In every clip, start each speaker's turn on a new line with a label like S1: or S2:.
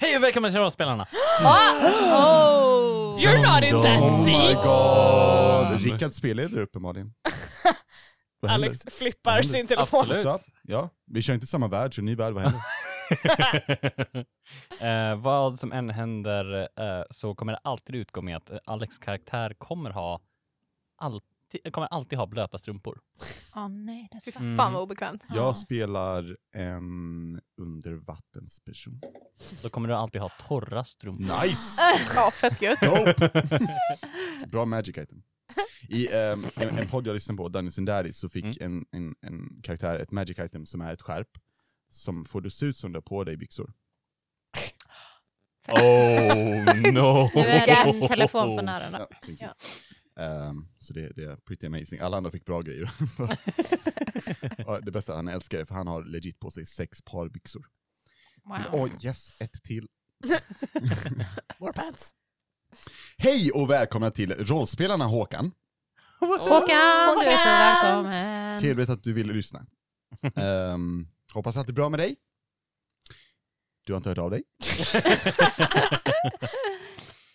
S1: Hej och välkommen till Rollspelarna!
S2: Oh!
S3: You're not in that
S4: Oh my
S3: seat!
S4: god! Rickard spelleder uppenbarligen. Vad händer?
S3: Alex flippar sin telefon.
S1: Absolut.
S4: What's up? Ja, vi kör inte i samma värld, så ny värld, vad händer?
S1: Eh, vad som än händer eh, så kommer det alltid utgå med att eh, Alex karaktär kommer ha alltid, kommer alltid ha blöta strumpor.
S2: Åh nej, det är sant.
S1: Mm.
S5: Fan vad obekvämt.
S2: Ja.
S4: Jag spelar en undervattensperson.
S1: Då kommer du alltid ha torra strumpor.
S4: Nice!
S5: Ja, fett gött.
S4: Dope! Bra magic item. I ehm, en, en podd jag lyssnade på, Danny Sundaris, så fick
S1: Mm.
S4: en, en, en karaktär ett magic item som är ett skärp som får det se ut som du har på dig byxor.
S1: Oh no!
S2: Nu är din telefon för nära. nu.
S4: Ja, thank you. Ehm, så det, det är pretty amazing. Alla andra fick bra grejer. Ja, det bästa han älskar är för han har legit på sig sex par byxor. Åh
S2: Wow.
S4: yes, ett till.
S3: More pants.
S4: Hej och välkomna till Rollspelarna Håkan.
S2: Håkan, du är så
S3: Håkan!
S2: välkommen.
S4: Trevligt att du ville lyssna. Ehm, hoppas att det är bra med dig. Du har inte hört av dig?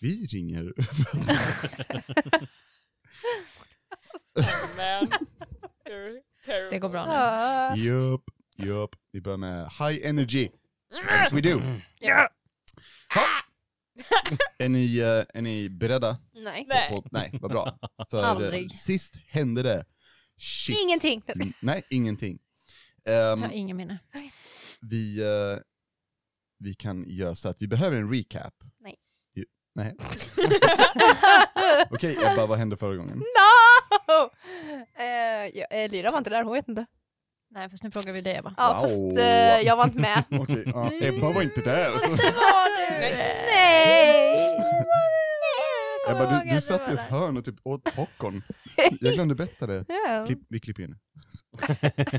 S4: Vi ringer.
S3: Oh, Man, you're terrible.
S2: Det går bra nu.
S5: Ja.
S4: Jupp, jupp. Vi börjar med High Energy. Yes we do.
S5: Ja.
S4: Ha. Är ni, eh, är ni beredda?
S5: Nej.
S3: Nej.
S4: På, nej, vad bra. För eh,
S2: Aldrig.
S4: sist hände det. Shit.
S5: Ingenting.
S4: Mm, Nej, ingenting. Ehm,
S2: Jag har ingen minne.
S4: vi, eh, vi kan göra så att vi behöver en recap.
S5: Nej.
S4: Ju- Nej. Okej Ebba, vad hände förra gången?
S5: No! Eh, ja, eh, Lyra var inte där, hon vet inte.
S2: Nej, fast nu frågar vi dig va?
S5: Ja,
S4: Wow.
S5: fast eh, jag var inte med.
S4: Okej, ja, Ebba var inte där. Så.
S5: Nej!
S4: Ebba, du, du satt i ett hörn och typ åt popcorn. Jag glömde berätta det.
S5: Ja,
S4: Klipp, vi klipper in.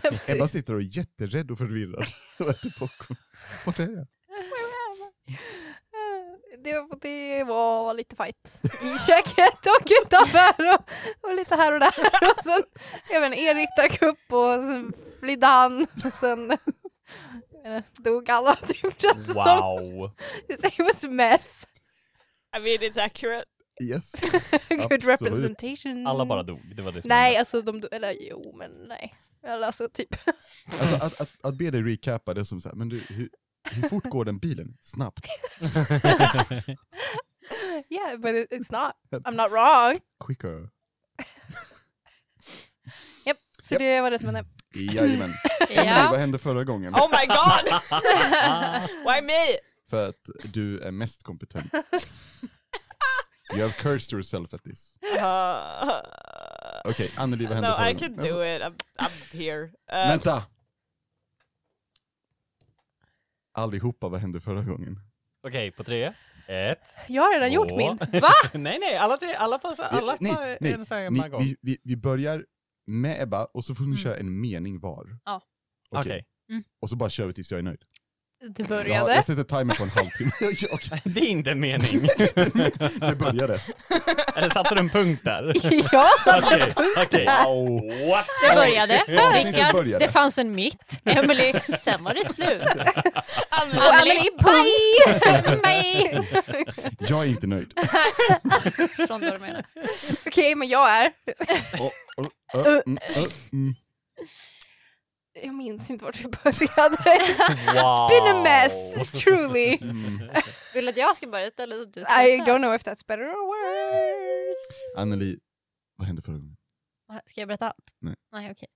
S5: precis.
S4: Ebba sitter och är jätterädd och förvirrad och äter popcorn. Vart är jag?
S5: Det, det var lite fight i köket och utanför och, och lite här och där. Och sen, jag vet inte, Erik dök upp och sen flydde han och sen eh, dog alla typ känns det som.
S1: Wow!
S5: It was a mess.
S3: I mean it's accurate.
S4: Yes.
S5: Good
S4: Absolut.
S5: representation.
S1: Alla bara
S2: Mm.
S1: dog, det var det som
S5: Nej, alltså de, eller jo men nej. Eller alltså typ.
S4: Alltså att, att, att be dig recappa det är som såhär, men du, hur, hur fort går den bilen? Snabbt.
S5: Yeah, but it, it's not. I'm not wrong.
S4: Quicker.
S5: Så
S4: Japp.
S5: det var det som hände.
S4: Jajamän. Emily,
S2: Ja.
S4: vad hände förra gången?
S3: Oh my god! Why me?
S4: För att du är mest kompetent. You have cursed yourself at this.
S3: Uh,
S4: Okej, Anneli, vad hände
S3: no,
S4: förra
S3: I can
S4: gången?
S3: do it. I'm, I'm here. Uh,
S4: Alltså- Vänta! Allihopa, vad hände förra gången?
S1: Okej, på tre. Ett.
S5: Jag har redan
S1: två.
S5: gjort min.
S1: Va? nej, nej, alla tre, alla på, alla
S4: Vi-
S1: på en så här
S4: ni,
S1: en gång.
S4: vi, vi, vi börjar med Ebba och så får ni
S2: Mm.
S4: köra en mening var.
S2: Ja.
S4: Okej.
S1: Okej.
S2: Mm.
S4: Och så bara kör vi tills jag är nöjd.
S5: Det
S4: Jag, har- jag
S5: började.
S4: sätter timer på en halvtimme. Jag-
S1: Det är inte en mening.
S4: det började.
S1: Eller satte du en punkt där?
S5: Jag satte
S1: Okej,
S5: en punkt
S1: okej.
S5: där.
S4: Wow.
S1: What?
S2: Det började,
S4: avsnittet
S2: Rickard,
S4: började.
S2: det fanns en mitt, Emily, sen var det slut.
S5: Och
S2: Anneli,
S5: Anneli, bye!
S2: Bye!
S4: Jag är inte nöjd.
S2: Från då du menar.
S5: Okej, men jag är.
S4: Och, och,
S2: Uh.
S4: ö, mm, ö, mm.
S5: Jag minns inte vart vi började.
S1: Wow.
S5: It's been a mess, truly.
S4: mm.
S2: Vill att jag ska börja istället? så att Du
S5: I
S2: slutar?
S5: don't know if that's better or worse.
S4: Anneli, vad hände förra gången?
S2: Va, Ska jag berätta allt?
S4: Nej.
S2: Nej okej,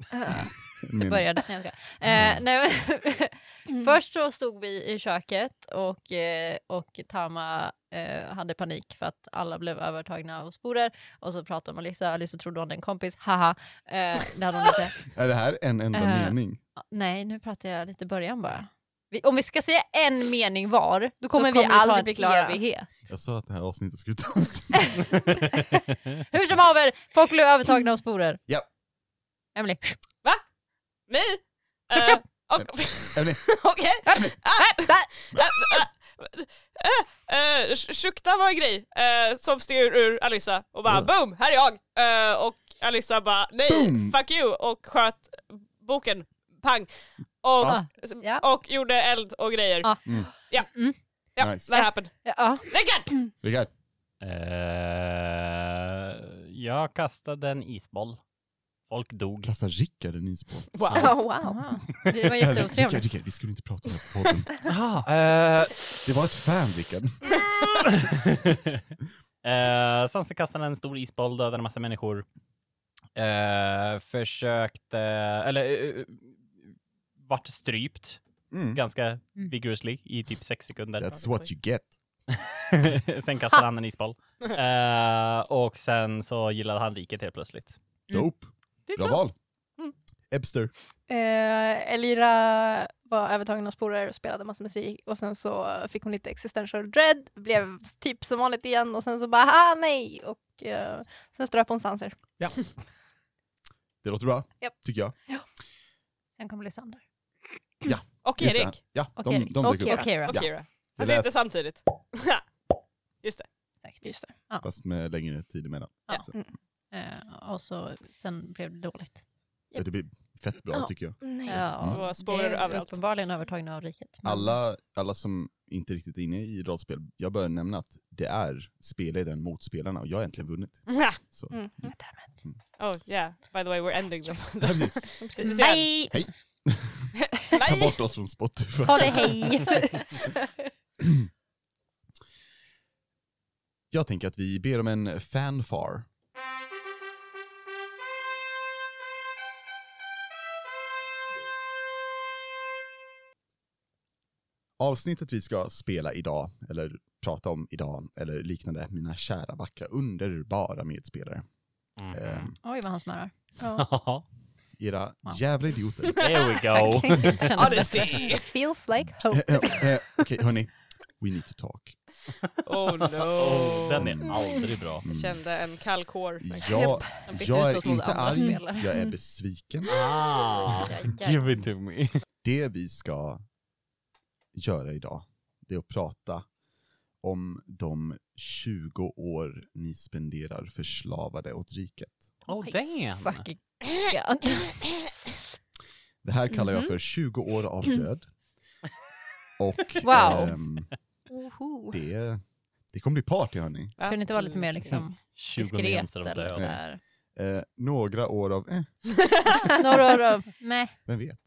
S4: Mening.
S2: det började. Nej, jag skojar. eh, nej, men- Först så stod vi i köket och, eh, och Tama eh, hade panik för att alla blev övertagna av sporer. Och så pratade om Alissa, Alissa trodde hon hade en kompis, haha. Eh, det hade hon inte.
S4: Är det här en enda
S2: Eh.
S4: mening?
S2: Nej, nu pratar jag lite i början bara. Vi, om vi ska säga en mening var, då
S5: kommer
S2: kommer,
S5: vi
S2: så kommer vi, aldrig
S5: aldrig
S2: bli
S5: klara.
S2: klara vid het.
S4: Jag sa att det här avsnittet skulle ta en timme.
S2: Hur som haver, folk blev övertagna av sporer.
S4: Ja.
S2: Emily.
S3: Me? Uh, oh.
S2: Chop, chop.
S3: ok-
S4: Emily.
S3: Okej.
S2: Äh, där.
S3: Eh, Sh- Shukta var en grej eh, som steg ur, ur Alissa och bara boom, här är jag! Eh, och Alissa bara nej,
S4: Boom.
S3: fuck you och sköt boken pang. Och,
S2: Ja. Ja.
S3: och gjorde eld och grejer.
S2: Ja.
S4: Mm.
S3: Ja,
S2: Mm.
S3: ja
S4: Nice.
S3: that happened.
S2: Ah!
S5: Ja.
S3: Rickard!
S4: Rickard,
S1: Eh, jag kastade en isboll. Folk dog.
S4: kasta Rickard en isboll.
S3: Wow.
S5: Ja, Oh, wow.
S2: Wow. Det var
S4: Rickard,
S2: jätteotrevligt.
S4: Rickard, vi skulle inte prata om det här på podden.
S1: Eh,
S4: Det var ett fan Rickard.
S1: eh, sen så kastade han en stor isboll, dödade en massa människor. Eh, försökte, eller eh, eh, vart strypt
S4: Mm.
S1: ganska vigorously i typ sex sekunder.
S4: That's what you get.
S1: sen kastade han en isboll. Eh, och sen så gillade han riket helt plötsligt.
S2: Mm.
S4: Dope.
S2: Det
S4: Bra val. Ebster.
S5: Eh, Elira var övertagen av sporer och spelade massa musik och sen så fick hon lite existential dread, blev typ som vanligt igen och sen så bara ah nej och eh, sen ströp hon Sanser.
S4: Det låter bra,
S5: Japp.
S4: tycker jag.
S2: Sen kom Lysander.
S3: Och
S4: Just det.
S3: Erik.
S4: Ja, de,
S2: Och Erik.
S4: de
S5: Och
S4: dyker upp.
S5: Erik.
S3: Och
S2: Och Kira.
S4: Ja.
S3: Kira.
S4: Det
S3: Fast Alltså, inte
S4: lät,
S3: samtidigt. Ja. Just det.
S2: Exakt.
S5: Just det.
S4: fast med längre tid emellan.
S2: Ja.
S4: Så,
S2: Eh, och så, sen blev det dåligt.
S4: ja, det blir fett bra,
S5: Ja.
S4: tycker jag.
S5: Nej.
S2: Ja,
S3: Det var spårar
S2: det är
S3: överallt.
S2: Uppenbarligen övertagna av riket. men-
S4: Alla, alla som inte riktigt är inne i rollspel, jag bör nämna att det är spelledaren mot spelarna och jag har egentligen vunnit.
S3: Ja.
S4: Så.
S5: Mm.
S3: Oh yeah, by the way we're ending them.
S5: Precis.
S3: Precis.
S2: Nej!
S4: Ta
S3: Nej!
S4: bort oss från Spotify.
S5: Ha det hej!
S4: Jag tänker att vi ber om en fanfar. Avsnittet vi ska spela idag, eller prata om idag, eller liknande, mina kära, vackra, underbara medspelare. Eh,
S2: Oj, vad han smörar.
S5: ja.
S1: Mm. Ja,
S4: era
S1: Wow.
S4: jävla idioter.
S1: There we go.
S2: Det kändes
S3: Honesty!
S5: It feels like hope.
S4: Eh, eh, eh, Okej, hörni. We need to talk.
S3: Oh
S1: Oh,
S3: no.
S1: den är aldrig bra.
S4: Mm.
S3: Jag kände en kall kår.
S4: Jag,
S2: Den bytte
S4: jag
S2: ut oss
S4: är
S2: mot
S4: inte
S2: andra
S4: arg,
S2: spelare.
S4: jag är besviken.
S1: Ah, give it to me.
S4: det vi ska göra idag, det är att prata om de 20 år ni spenderar förslavade åt riket.
S1: Oh damn.
S2: Fucking god.
S4: Det här kallar jag
S2: Mhm. Mm.
S4: för 20 år av död. Och
S2: Wow.
S4: ehm,
S5: Oho.
S4: det, det kommer bli party hörni.
S3: Ja.
S2: Kunde inte vara lite mer liksom
S1: 20
S2: diskret
S1: memes är de
S2: eller
S1: döda.
S2: sådär.
S4: Eh, några år av, eh,
S2: Några år av, nej,
S4: vem vet?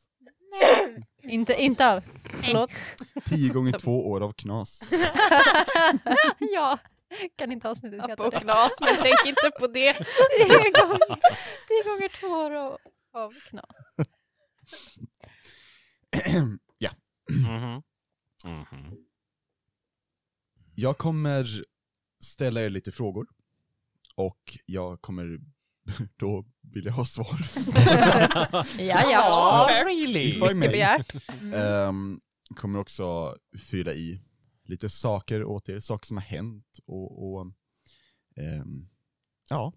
S2: inte, inte av. Förlåt.
S4: 10 gånger 2 år av knas.
S2: ja, kan inte avsnittet
S5: Upp
S2: heta
S5: och
S2: det?
S5: knas, men tänk inte på det.
S2: Tio gånger, tio gånger två år av, av knas.
S1: Mhm. Mhm.
S4: Jag kommer ställa er lite frågor. Och jag kommer då vill jag ha svar.
S2: Ja,
S3: Ah,
S1: Ja,
S2: ja.
S1: really?
S4: If I may.
S5: Begärt.
S2: Mm.
S4: Ehm, kommer också fylla i lite saker åt er, saker som har hänt och, och ehm, ja,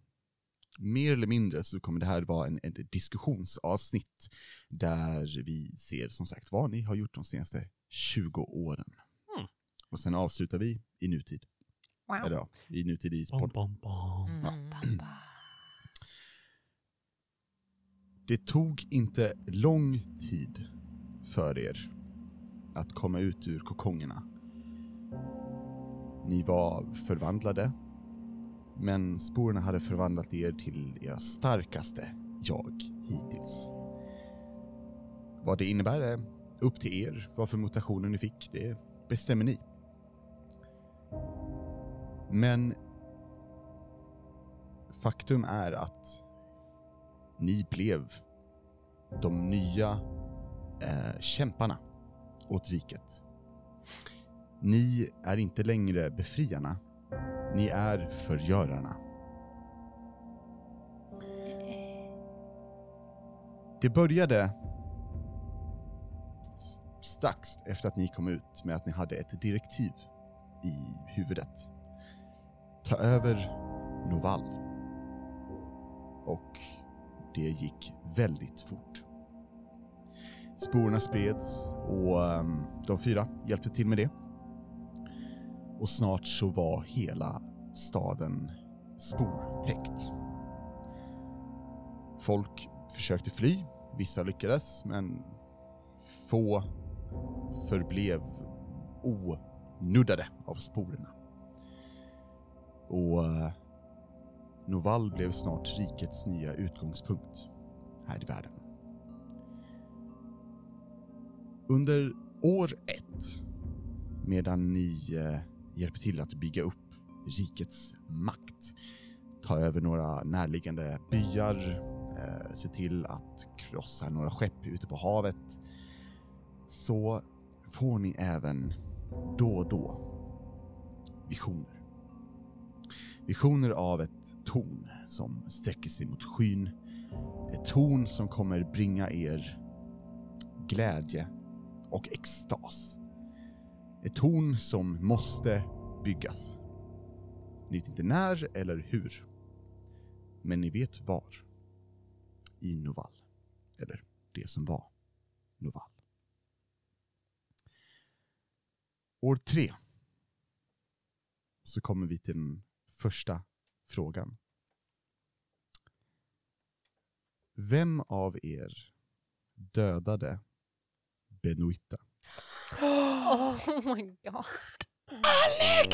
S4: mer eller mindre så kommer det här vara en, en diskussionsavsnitt där vi ser som sagt vad ni har gjort de senaste 20 åren.
S1: Mm.
S4: Och sen avslutar vi i nutid.
S2: Wow.
S4: Eller ja, i nutid i
S1: Bom,
S4: podd.
S1: bom, bom.
S4: Det tog inte lång tid för er att komma ut ur kokongerna. Ni var förvandlade, men sporerna hade förvandlat er till era starkaste jag hittills. Vad det innebär är upp till er. Vad för mutationer ni fick, det bestämmer ni. Men faktum är att ni blev de nya eh, kämparna åt riket. Ni är inte längre befriarna. Ni är förgörarna. Det började s- strax efter att ni kom ut med att ni hade ett direktiv i huvudet. Ta över Noval. Och det gick väldigt fort. Sporerna spreds och ehm, de fyra hjälpte till med det. Och snart så var hela staden sportäckt. Folk försökte fly Vissa lyckades, men få förblev onuddade av sporerna. Och eh, Novall blev snart rikets nya utgångspunkt här i världen. Under år ett, medan ni eh, hjälper till att bygga upp rikets makt, ta över några närliggande byar, eh, se till att krossa några skepp ute på havet, så får ni även då och då visioner. Visioner av ett torn som sträcker sig mot skyn. Ett torn som kommer bringa er glädje och extas. Ett torn som måste byggas. Ni vet inte när eller hur. Men ni vet var. I Novall. Eller det som var Novall. År tre. Så kommer vi till den första frågan. Vem av er dödade Benoita?
S2: Oh my god.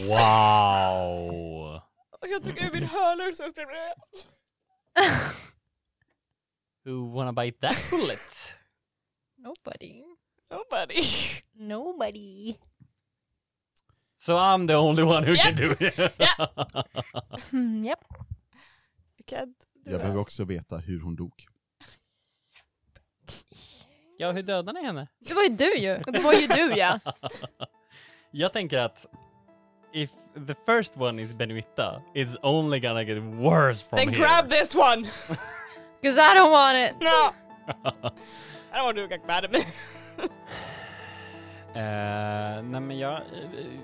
S1: Wow!
S3: Och jag tog ur min hörlur så upplevde jag det.
S1: Who wanna bite that bullet?
S2: Nobody.
S3: Nobody.
S5: Nobody.
S1: So I'm the only one who can
S3: Yep.
S1: do it.
S5: Mm, japp.
S3: Can't do
S4: Jag
S3: that.
S4: behöver också veta hur hon dog.
S1: ja, hur dödar ni henne?
S2: Det var ju du ju.
S5: Det var ju du ja.
S1: Jag tänker att if the first one is Benuita, it's only gonna get worse from
S3: Then
S1: here.
S3: grab this one!
S2: Cause I don't want it.
S3: No! I don't want to get mad at me.
S1: Eh, nej men jag... eh,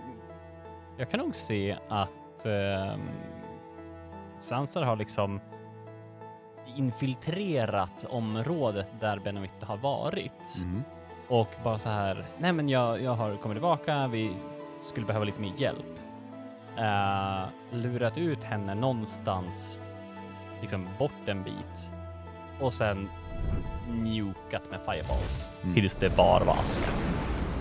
S1: Jag kan nog se att ehm, Sansar har liksom infiltrerat området där Benoit har varit
S4: Mhm.
S1: och bara så här. Nej, men jag, jag har kommit tillbaka. Vi skulle behöva lite mer hjälp. Eh, lurat ut henne någonstans, liksom bort en bit och sen mjukat med fireballs
S4: Mm.
S1: tills det bara var aska.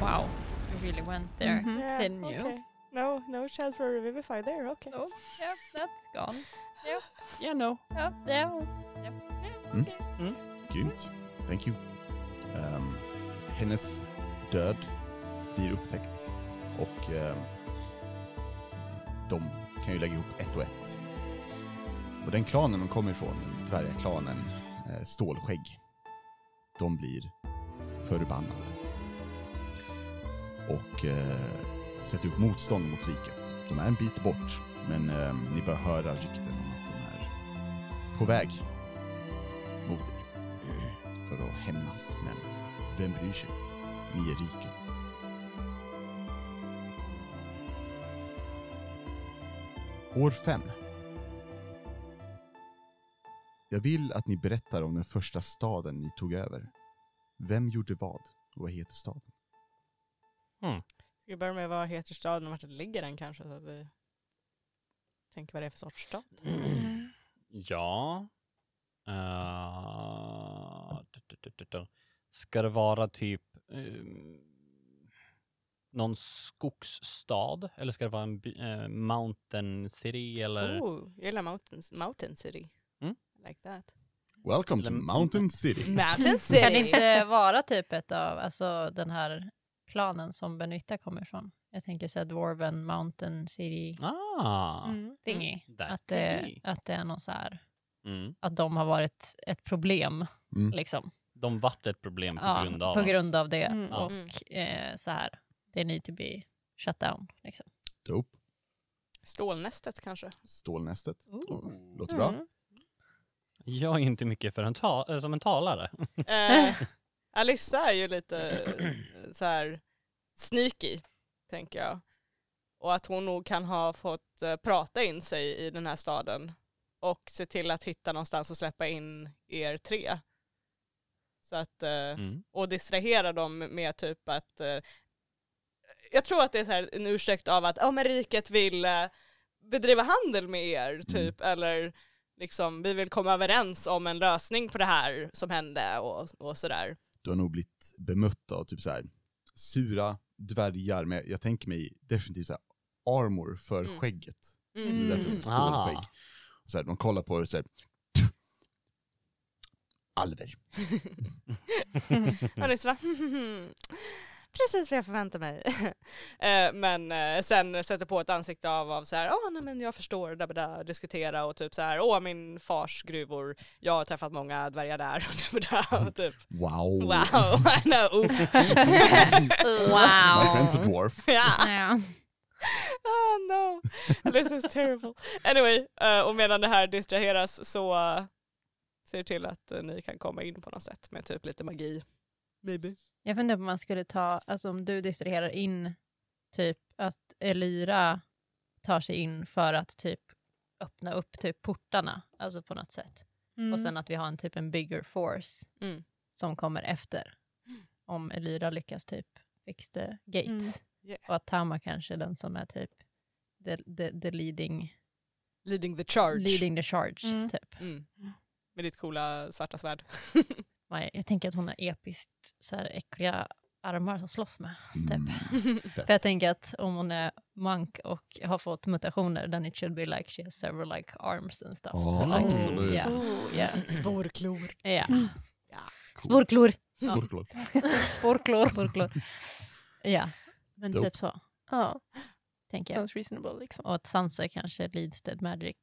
S2: Wow. You really went there.
S5: Mhm.
S2: Didn't Mm, you? okay.
S3: No, no chance for a revivify there, okay.
S2: Oh, yeah, that's gone.
S1: Yeah, no.
S2: Yeah, yeah.
S4: Grymt. Thank you. Ehm, hennes död blir upptäckt och ehm, de kan ju lägga ihop ett och ett. Och den klanen de kommer ifrån, den dvärgaklanen uh, Stålskägg, de blir förbannade. Och eh, sätter upp motstånd mot riket. De är en bit bort, men ehm, ni bör höra rykten om att de är på väg mot er för att hämnas, men vem bryr sig? Ni är riket. År fem. Jag vill att ni berättar om den första staden ni tog över. Vem gjorde vad och vad heter staden?
S3: Ska vi börja med vad heter staden och vart den ligger den kanske? Så att vi tänker vad det är för sorts stad.
S1: Ja. Eh, du- du- du- du- du. Ska det vara typ ehm, någon skogsstad eller ska det vara en by, eh, mountain city eller?
S3: Oh, jag gillar mountains, Mountain City.
S1: Mm.
S3: I Like that.
S4: Welcome to
S1: Eller-
S4: Mountain City!
S3: Mountain
S2: Kan det inte vara typ ett av alltså, den här klanen som Benytta kommer ifrån? Jag tänker såhär Dwarven Mountain City
S1: Ah,
S2: Mm. thingy.
S1: där Mm.
S2: Att,
S1: kan
S2: det,
S1: vi.
S2: att det är någon så här,
S1: Mm.
S2: att de har varit ett problem
S4: Mm.
S2: liksom.
S1: De vart ett problem på
S2: ja,
S1: grund av.
S2: på
S1: att-
S2: grund av det.
S5: Mm.
S1: Ja.
S2: Och eh, så här, det need to be shut down. Liksom.
S4: Dope.
S3: Stålnästet kanske?
S4: Stålnästet.
S2: Ooh.
S4: Låter bra.
S5: Mm.
S1: Jag är inte mycket för en ta- eh, som en talare.
S2: Mm.
S3: Eh, Alyssa är ju lite eh, så här sneaky, tänker jag. Och att hon nog kan ha fått eh, prata in sig i den här staden och se till att hitta någonstans och släppa in er tre. Så att, eh,
S1: Mm.
S3: och distrahera dem med typ att eh, jag tror att det är så här en
S4: Mm.
S3: ursäkt av att oh, men riket vill eh, bedriva handel med er typ eller liksom, vi vill komma överens om en lösning på det här som hände och, och sådär.
S4: Du har nog blivit bemött av typ så här sura dvärgar, men jag tänker mig definitivt så här armor för
S3: Mm.
S4: skägget.
S3: Mm.
S4: Det är därför det är så stora
S1: Ah.
S4: skägg. Och Så här, de kollar på det och säger Alver.
S3: Och Nisse bara, precis vad jag förväntar mig. Eh, men eh, sen sätter på ett ansikte av, av så här, åh nej men jag förstår, da, da, da, diskutera och typ så här, åh min fars gruvor, jag har träffat många dvärgar där och da,
S4: Mm.
S3: da, da, och typ,
S4: Wow.
S3: wow, I know, oof.
S4: My
S2: Wow.
S4: friend's a dwarf.
S3: Ja.
S5: Ja.
S3: Oh no, this is terrible. Anyway, eh, och medan det här distraheras så eh, ser till att eh, ni kan komma in på något sätt med typ lite magi. Maybe.
S2: Jag funderar på om man skulle ta, alltså om du distraherar in, typ att Elira tar sig in för att typ öppna upp typ portarna, alltså på något sätt.
S5: Mm.
S2: Och sen att vi har en typ en bigger force
S3: Mm.
S2: som kommer efter. Om Elira lyckas typ fix the gates.
S5: Mm.
S3: Yeah.
S2: Och att Tama kanske är den som är typ the, the, the leading,
S3: Leading the charge.
S2: leading the charge.
S5: Mm.
S2: Typ.
S3: Mm. Med ditt coola svarta svärd.
S2: Jag, jag tänker att hon har episkt så här äckliga armar som slåss med.
S4: Mm,
S2: För jag
S4: fett.
S2: tänker att om hon är monk och har fått mutationer, then it should be like she has several like arms and stuff.
S4: Ja,
S2: so, like,
S4: absolut.
S2: Yeah, yeah,
S3: Sporklor.
S2: yeah.
S4: Coolt.
S2: Sporklor.
S4: Coolt, coolt.
S2: Sporklor. Sporklor. Ja, men
S4: Dope.
S2: typ så,
S5: Ja,
S2: tänker jag.
S5: sounds reasonable liksom.
S2: Och att Sansa kanske leads the magic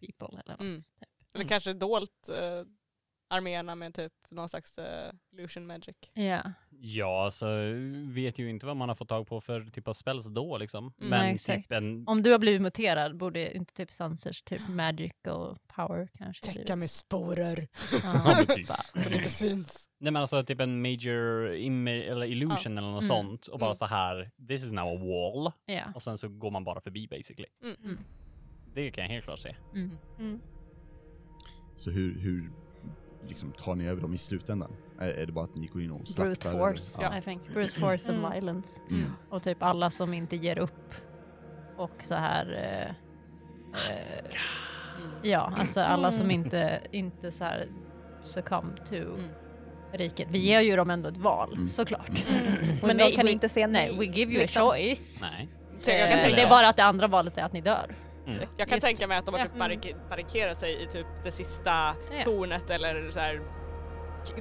S2: people eller något.
S3: Mm.
S2: Typ.
S3: Eller
S1: Mm.
S3: kanske dolt eh, arméerna med typ någon slags eh, illusion magic.
S2: Ja,
S1: Ja, alltså vet ju inte vad man har fått tag på för typ av spells då liksom.
S3: Mm.
S1: Men
S2: Nej,
S1: typ
S2: exakt.
S1: en...
S2: Om du har blivit muterad, borde inte typ Sansers typ magical power kanske blivit-
S3: med sporer
S1: Ja,
S2: Ja.
S1: men typ.
S3: som inte syns.
S1: Nej men alltså typ en major ima- eller illusion eller något
S2: Mm.
S1: sånt och bara
S3: Mm.
S1: så här, this is now a wall.
S2: ja.
S1: Och sen så går man bara förbi basically.
S3: Mm.
S2: Mm.
S1: Det kan jag helt klart se.
S2: Mm.
S4: Så hur, hur liksom, tar ni över dem i slutändan? Är, är det bara att ni går in och slaktar?
S2: Brute
S4: eller?
S2: force,
S4: Ja.
S2: I think. Brute force and
S5: Mm.
S2: violence.
S4: Mm.
S2: Och typ alla som inte ger upp. Och så här... Eh, eh,
S3: Mm.
S2: ja, alltså alla som
S5: Mm.
S2: inte, inte så här succumb to
S3: Mm.
S2: riket. Vi ger ju dem ändå ett val,
S4: Mm.
S2: såklart.
S5: Men
S2: we-
S5: de kan
S2: we-
S5: inte säga
S2: Nej,
S5: nej.
S2: we give you
S5: liksom.
S2: a choice.
S1: Nej.
S3: Tänk- Jag kan,
S2: Eh,
S3: tänka,
S2: det är bara att det andra valet är att ni dör.
S1: Mm.
S3: jag kan
S2: just- mm.
S3: tänka mig att de har
S5: Ja.
S3: typ barrik- barrikerat sig i typ det sista
S2: Ja.
S3: tornet eller så här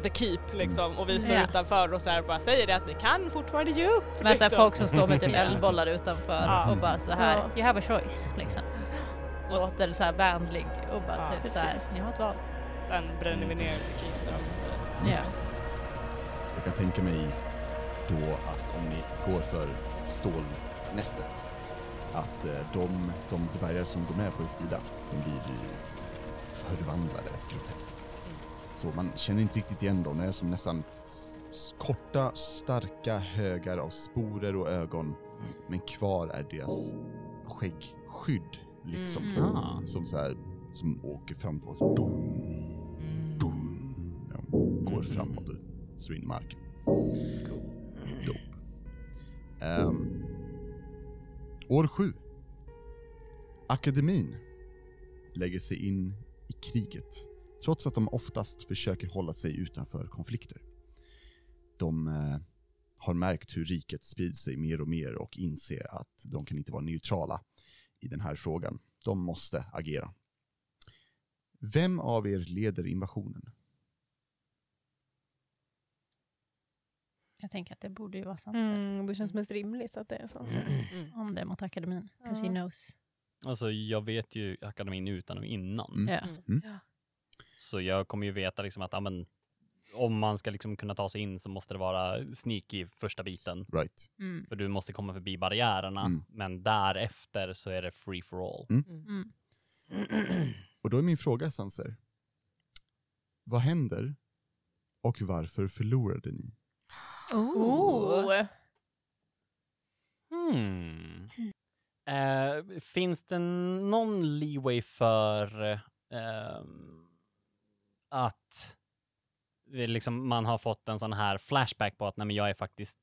S3: the keep liksom och vi står
S2: Mm. Ja.
S3: utanför och så här bara säger det att ni kan fortfarande ge upp.
S2: Men så här,
S3: liksom.
S2: folk som står med typ
S1: Ja.
S2: eldbollar utanför
S3: Ja.
S2: och bara så här,
S5: Ja.
S2: you have a choice liksom. Låter så här vänlig och bara
S3: Ja,
S2: typ så här,
S5: precis.
S2: ni har ett val.
S3: Sen bränner vi ner the keep. Där de,
S2: Ja.
S4: Jag kan tänka mig då att om ni går för stålnästet, att eh, de, de dvärgar som går med på er sida, de blir ju förvandlade groteskt. Så man känner inte riktigt igen dem, de är som nästan s- s- korta, starka högar av sporer och ögon, men kvar är deras skäggskydd liksom.
S3: Mm.
S1: Ah.
S4: Som så här, som åker framåt. Dum, dum. Ja, går framåt och slår in i marken. Dope. Ehm, år sju. Akademin lägger sig in i kriget trots att de oftast försöker hålla sig utanför konflikter. De eh, har märkt hur riket sprider sig mer och mer och inser att de kan inte vara neutrala i den här frågan. De måste agera. Vem av er leder invasionen?
S2: Jag tänker att det borde ju vara sant.
S5: Mm, det känns mest rimligt att det är sånt.
S3: Mm.
S2: Om det är mot akademin. 'cause he
S5: Ja.
S2: knows.
S1: Alltså jag vet ju akademin utan och innan.
S4: Mm.
S2: Ja.
S1: Så jag kommer ju veta liksom att ja, men, om man ska liksom kunna ta sig in så måste det vara sneaky första biten.
S4: Right.
S2: Mm.
S1: För du måste komma förbi barriärerna,
S4: Mm.
S1: men därefter så är det free for all.
S2: Mm.
S4: Och då är min fråga, Sanser. Vad händer och varför förlorade ni?
S5: Oh.
S1: Hmm. Eh, finns det någon leeway för ehm, att det liksom, man har fått en sån här flashback på att nej, men jag är faktiskt,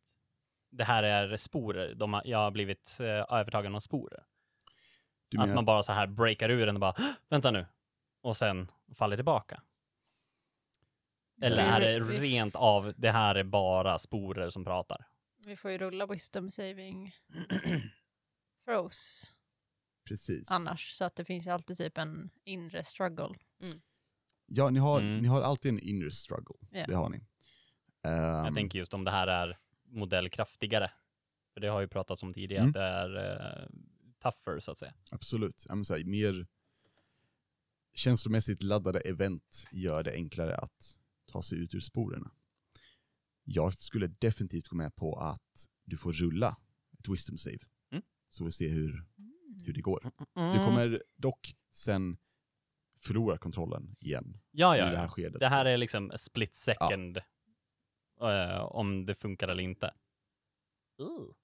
S1: det här är sporer, de har, jag har blivit eh, övertagen av sporer.
S4: Du
S1: Att man bara så här breakar ur den och bara "Hå! vänta nu, och sen faller tillbaka? Eller
S2: Vi-
S1: är det
S2: vi-
S1: rent av, det här är bara sporer som pratar?
S2: Vi får ju rulla wisdom saving throws
S4: Precis.
S2: annars, så att det finns ju alltid typ en inre struggle.
S4: Ja, ni har,
S1: Mm.
S4: ni har alltid en inre struggle.
S2: Ja.
S4: Det har ni. Ehm,
S1: Jag tänker just om det här är modellkraftigare. För det har ju pratats om tidigare,
S4: Mm.
S1: att det är eh, tougher så att säga.
S4: Absolut. Ja, men så här, mer känslomässigt laddade event gör det enklare att ta sig ut ur sporerna. Jag skulle definitivt gå med på att du får rulla ett wisdom save.
S1: Mm.
S4: Så vi ser hur, hur det går. Du kommer dock sen förlora kontrollen igen
S1: ja,
S4: i
S1: ja,
S4: det här
S1: ja.
S4: skedet.
S1: Det här är liksom a split second eh, om det funkar eller inte. Ooh.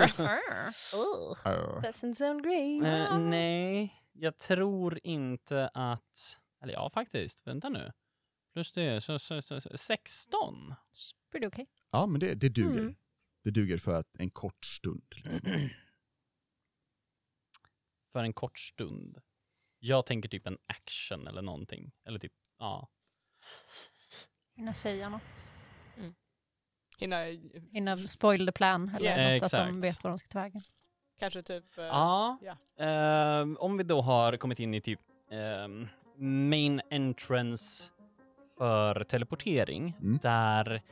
S1: Ooh.
S4: Arr.
S5: Doesn't sound great. Mm,
S1: Eh, nej, jag tror inte att... Eller ja, faktiskt. Vänta nu. Plus det, så, så, så, så, 16.
S2: Pretty okay.
S4: Ja, men det, det duger.
S5: Mm.
S4: Det duger för att en kort stund. Liksom.
S1: För en kort stund. Jag tänker typ en action eller någonting. Eller typ, ja.
S2: Hinna säga något.
S3: Hinna
S2: Hinna spoil the plan eller
S3: Yeah.
S2: något, att de
S1: Exakt.
S2: vet var de ska ta vägen.
S3: kanske typ... eh,
S1: Ja.
S3: ja.
S1: Ehm, om vi då har kommit in i typ ehm, main entrance för teleportering,
S4: Mm.
S1: där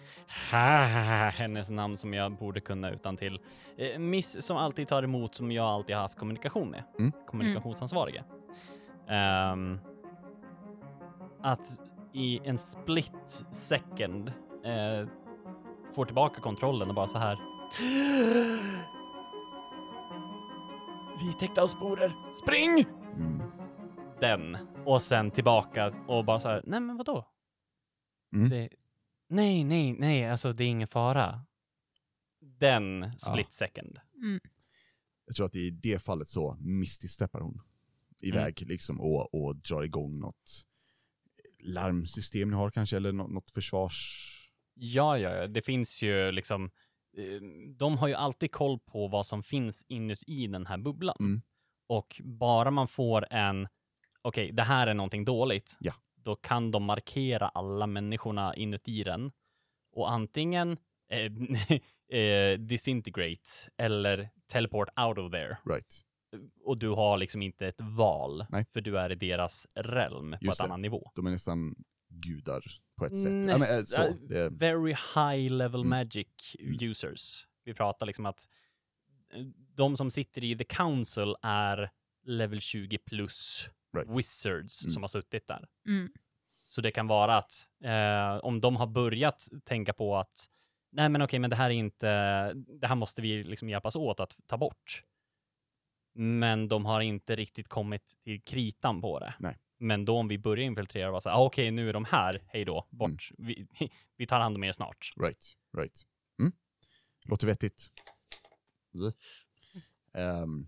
S1: hennes namn som jag borde kunna utan till eh, Miss som alltid tar emot, som jag alltid har haft kommunikation med,
S4: Mm.
S1: kommunikationsansvarige. Ehm, att i en split second eh, får tillbaka kontrollen och bara så här. Vi är täckta av sporer. Spring!
S4: Mm.
S1: Den. Och sen tillbaka och bara så här, nej men vadå?
S4: Mm.
S1: Det, nej, nej, nej, alltså det är ingen fara. Den split second.
S4: Jag tror att i det fallet så mististeppar hon
S1: Mm.
S4: iväg liksom och, och drar igång något larmsystem ni har kanske, eller något, något försvars...
S1: Ja, ja, ja, det finns ju liksom, eh, de har ju alltid koll på vad som finns inuti den här bubblan.
S4: Mm.
S1: Och bara man får en, okej, det här är någonting dåligt,
S4: Ja.
S1: då kan de markera alla människorna inuti den och antingen eh, eh, disintegrate eller teleport out of there.
S4: Right.
S1: Och du har liksom inte ett val,
S4: Nej.
S1: för du är i deras realm på
S4: Just
S1: en
S4: det.
S1: annan nivå.
S4: De är nästan gudar på ett sätt.
S1: Näst-
S4: Ja, men, eh,
S1: äh,
S4: så. Det,
S1: Very high level
S4: Mm.
S1: magic
S4: Mm.
S1: users. Vi pratar liksom att eh, de som sitter i the council är level 20 plus
S4: right.
S1: wizards
S4: Mm.
S1: som har suttit där.
S2: Mm.
S1: Så det kan vara att eh, om de har börjat tänka på att nej men okej, men det här är inte, det här måste vi liksom hjälpas åt att ta bort. Men de har inte riktigt kommit till kritan på det.
S4: Nej.
S1: Men då om vi börjar infiltrera och bara så här, ah, okej, nu är de här, hej då, bort,
S4: Mm.
S1: vi, vi tar hand om er snart.
S4: Right, right. Mm. Låter vettigt. Mm. Ehm,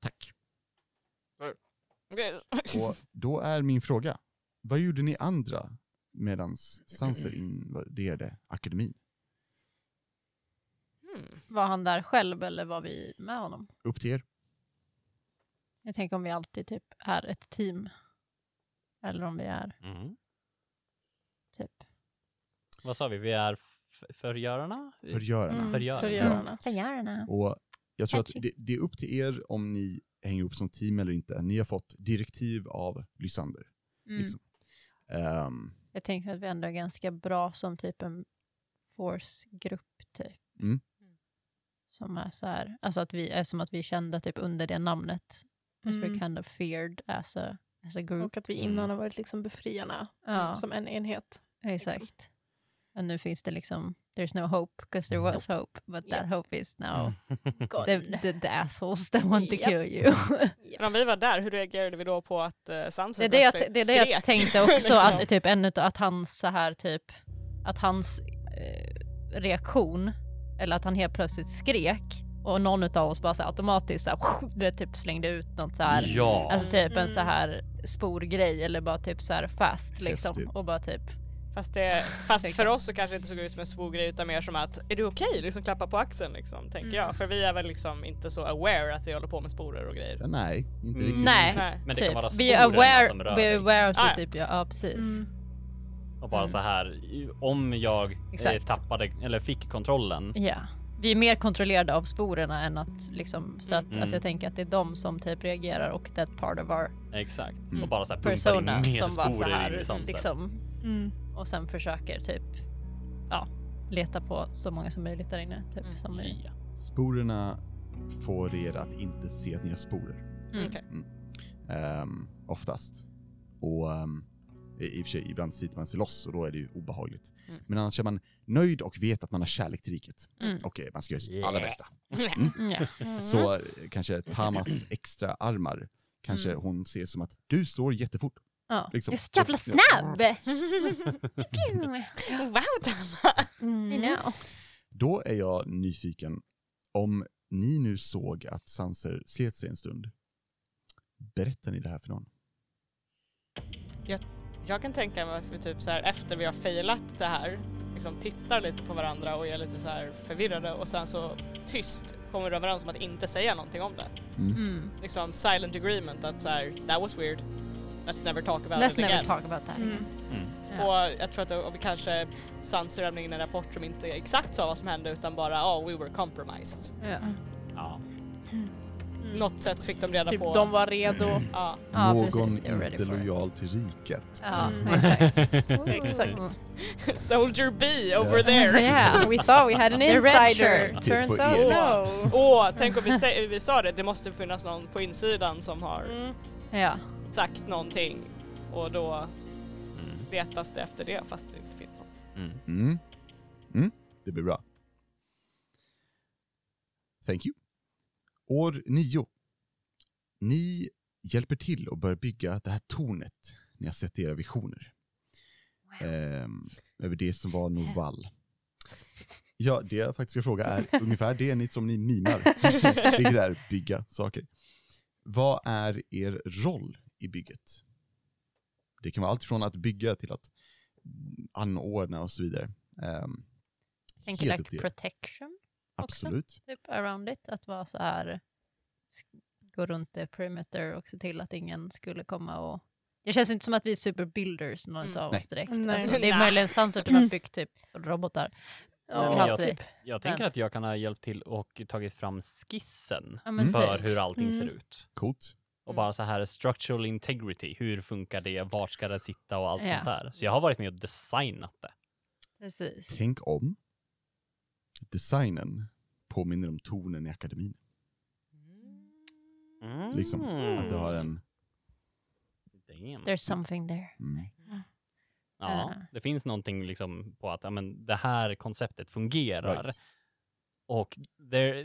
S4: tack.
S3: Okej.
S4: Och då är min fråga, vad gjorde ni andra medan Sanser invaderade akademin?
S3: Mm.
S2: Var han där själv eller var vi med honom?
S4: Upp till er.
S2: Jag tänker om vi alltid typ är ett team. Eller om vi är typ
S1: Vad sa vi, vi är f- förgörarna?
S4: Förgörarna.
S1: Mm. Förgörarna.
S2: förgörarna. Förgörarna.
S4: Och jag tror att
S2: Catchy.
S4: det, det är upp till er om ni hänger ihop som team eller inte. Ni har fått direktiv av Lysander.
S2: Mm.
S4: Liksom. Ehm,
S2: Jag tänker att vi ändå är ganska bra som typ en force-grupp typ.
S4: Mm.
S2: Som är så här, alltså att vi är som att vi kände typ under det namnet. That
S5: Mm.
S2: we're kind of feared as a, as a group.
S5: Och att vi
S1: Mm.
S5: innan har varit liksom befriarna
S2: ja,
S5: som en liksom. enhet.
S2: exakt. Och nu finns det liksom, there's no hope because there was hope, but that hope is now
S1: Mm.
S2: the,
S5: Mm.
S2: the, the assholes that want to
S5: Japp.
S2: kill you.
S3: Men om vi var där, hur reagerade vi då på att uh,
S2: det är
S3: Samson
S2: det jag,
S3: plötsligt
S2: det är det jag
S3: skrek?
S2: tänkte också,
S3: Liksom.
S2: att typ en utav, att hans så här typ, att hans eh, reaktion, eller att han helt plötsligt skrek och någon utav oss bara så här automatiskt så här, det typ slängde ut något så här,
S1: Ja.
S2: alltså typ en så
S5: Mm.
S2: här stor grej eller bara typ så här fast liksom
S4: Häftigt.
S2: och bara typ
S3: Fast, det, fast
S2: Tänker.
S3: för oss så kanske det inte såg ut som en svogrej utan mer som att är du okej? Liksom klappa på axeln liksom, tänker
S2: Mm.
S3: jag. För vi är väl liksom inte så aware att vi håller på med sporer och grejer.
S4: Ja, Nej, inte
S1: Mm.
S4: riktigt.
S2: Nej,
S3: Nej.
S1: Men det
S2: typ.
S1: kan vara
S2: Be
S1: sporerna
S2: aware,
S1: som rör
S2: be
S1: dig.
S2: aware of
S3: Ah,
S2: det,
S3: ja.
S2: typ. Ja, ja precis.
S5: Mm.
S1: Och bara
S2: Mm.
S1: så här, i- om jag eh,
S2: Exakt. Mm.
S1: tappade eller fick kontrollen.
S2: Ja. Vi är mer kontrollerade av sporerna än att liksom, så att
S1: Mm.
S2: alltså, jag tänker att det är de som typ reagerar och that part of our
S1: Exakt.
S4: Mm.
S1: Och bara så här pumpar in
S2: persona
S1: mer
S2: som bara så
S1: sporer
S2: här
S1: i svansen.
S2: liksom
S5: Mm.
S2: och sen försöker typ ja, leta på så många som möjligt där inne. Typ,
S3: Mm.
S2: som är,
S1: Ja.
S4: Sporerna får er att inte se att ni har sporer.
S2: Mm.
S3: Okej.
S4: Ehm, oftast. Och ehm, i i och för sig, ibland sliter man sig loss och då är det ju obehagligt.
S3: Mm.
S4: Men annars är man nöjd och vet att man har kärlek till riket.
S2: Mm.
S4: Och eh, man ska göra sitt allra
S1: Yeah.
S4: bästa.
S2: ja.
S4: Så eh, kanske Tamas extra armar, kanske hon ser som att du slår jättefort.
S2: Mm. Ja.
S4: Liksom.
S2: Jag är så jävla
S4: Ja.
S2: snabb!
S3: wow Tama!
S2: I
S5: Mm.
S2: know.
S4: Då är jag nyfiken om ni nu såg att Sanser slet sig en stund. Berättar ni det här för någon?
S3: Jag kan tänka mig att vi typ så här efter vi har failat det här liksom tittar lite på varandra och är lite så här förvirrade och sen så tyst kommer vi överens om att inte säga någonting om det.
S2: Mm.
S3: Liksom silent agreement att så här that was weird. Let's never talk about
S2: Let's
S3: it again.
S2: never talk about that again.
S1: Mm.
S3: Och jag tror att om vi kanske Sanser lämnade in en rapport som inte exakt sa vad som hände utan bara oh we were compromised.
S2: Ja.
S1: Ja.
S3: Något sätt fick de reda
S5: Mm. Typ
S3: på.
S5: de var redo.
S3: ja.
S2: Ja,
S4: Någon
S2: precis. They're ready
S4: inte
S2: for it.
S4: lojal till riket.
S2: Ja,
S5: Mm.
S2: exakt. Mm.
S5: Exakt.
S3: Soldier B over there!
S5: Mm.
S2: Yeah.
S5: We thought we had an
S2: The red
S5: insider.
S2: shirt.
S5: Turns
S1: Typ
S4: Titt på
S5: out
S1: E.
S4: er.
S5: no.
S3: Åh, tänk om vi, sä- vi sa det, det måste finnas någon på E. insidan som har
S5: Mm.
S2: Ja.
S3: sagt någonting och då
S1: Mm.
S3: letas det efter det fast det inte finns någon.
S1: Mm.
S4: Mm. Mm. Det blir bra. Thank you. År nio. Ni hjälper till att börja bygga det här tornet ni har sett i era visioner. Ehm, över det som var Novall. Ja, det jag faktiskt ska fråga är ungefär det ni, som ni mimar. Vilket är bygga saker. Vad är er roll i bygget? Det kan vara allt från att bygga till att anordna och så vidare. Ehm,
S2: Tänker
S4: Helt upp till
S2: like
S4: er.
S2: protection också.
S4: absolut.
S2: typ around it. Att vara så här, sk- gå runt the perimeter och se till att ingen skulle komma och... Det känns inte som att vi är superbuilders någon
S3: Mm.
S2: av
S4: Nej.
S2: oss direkt.
S5: Nej.
S2: Alltså, det är
S3: Nej.
S2: möjligen Sunset som har byggt typ robotar.
S1: Nej, men
S2: Ja,
S1: jag,
S2: typ.
S1: jag tänker att jag kan ha hjälpt till och tagit fram skissen
S2: Ja, men
S1: Mm. för
S2: typ.
S1: hur allting ser
S5: Mm.
S1: ut.
S4: Coolt.
S1: Och
S3: Mm.
S1: bara så här structural integrity, hur funkar det, vart ska det sitta och allt
S2: Ja.
S1: sånt där. Så jag har varit med och designat det.
S2: Precis.
S4: Tänk om. Designen påminner om tonen i akademin. Liksom
S1: Mm.
S4: att det har en...
S1: Damn.
S2: There's something there.
S4: Mm,
S1: Ja,
S2: Ah.
S1: det finns någonting liksom på att ja, men det här konceptet fungerar.
S4: right.
S1: Och there,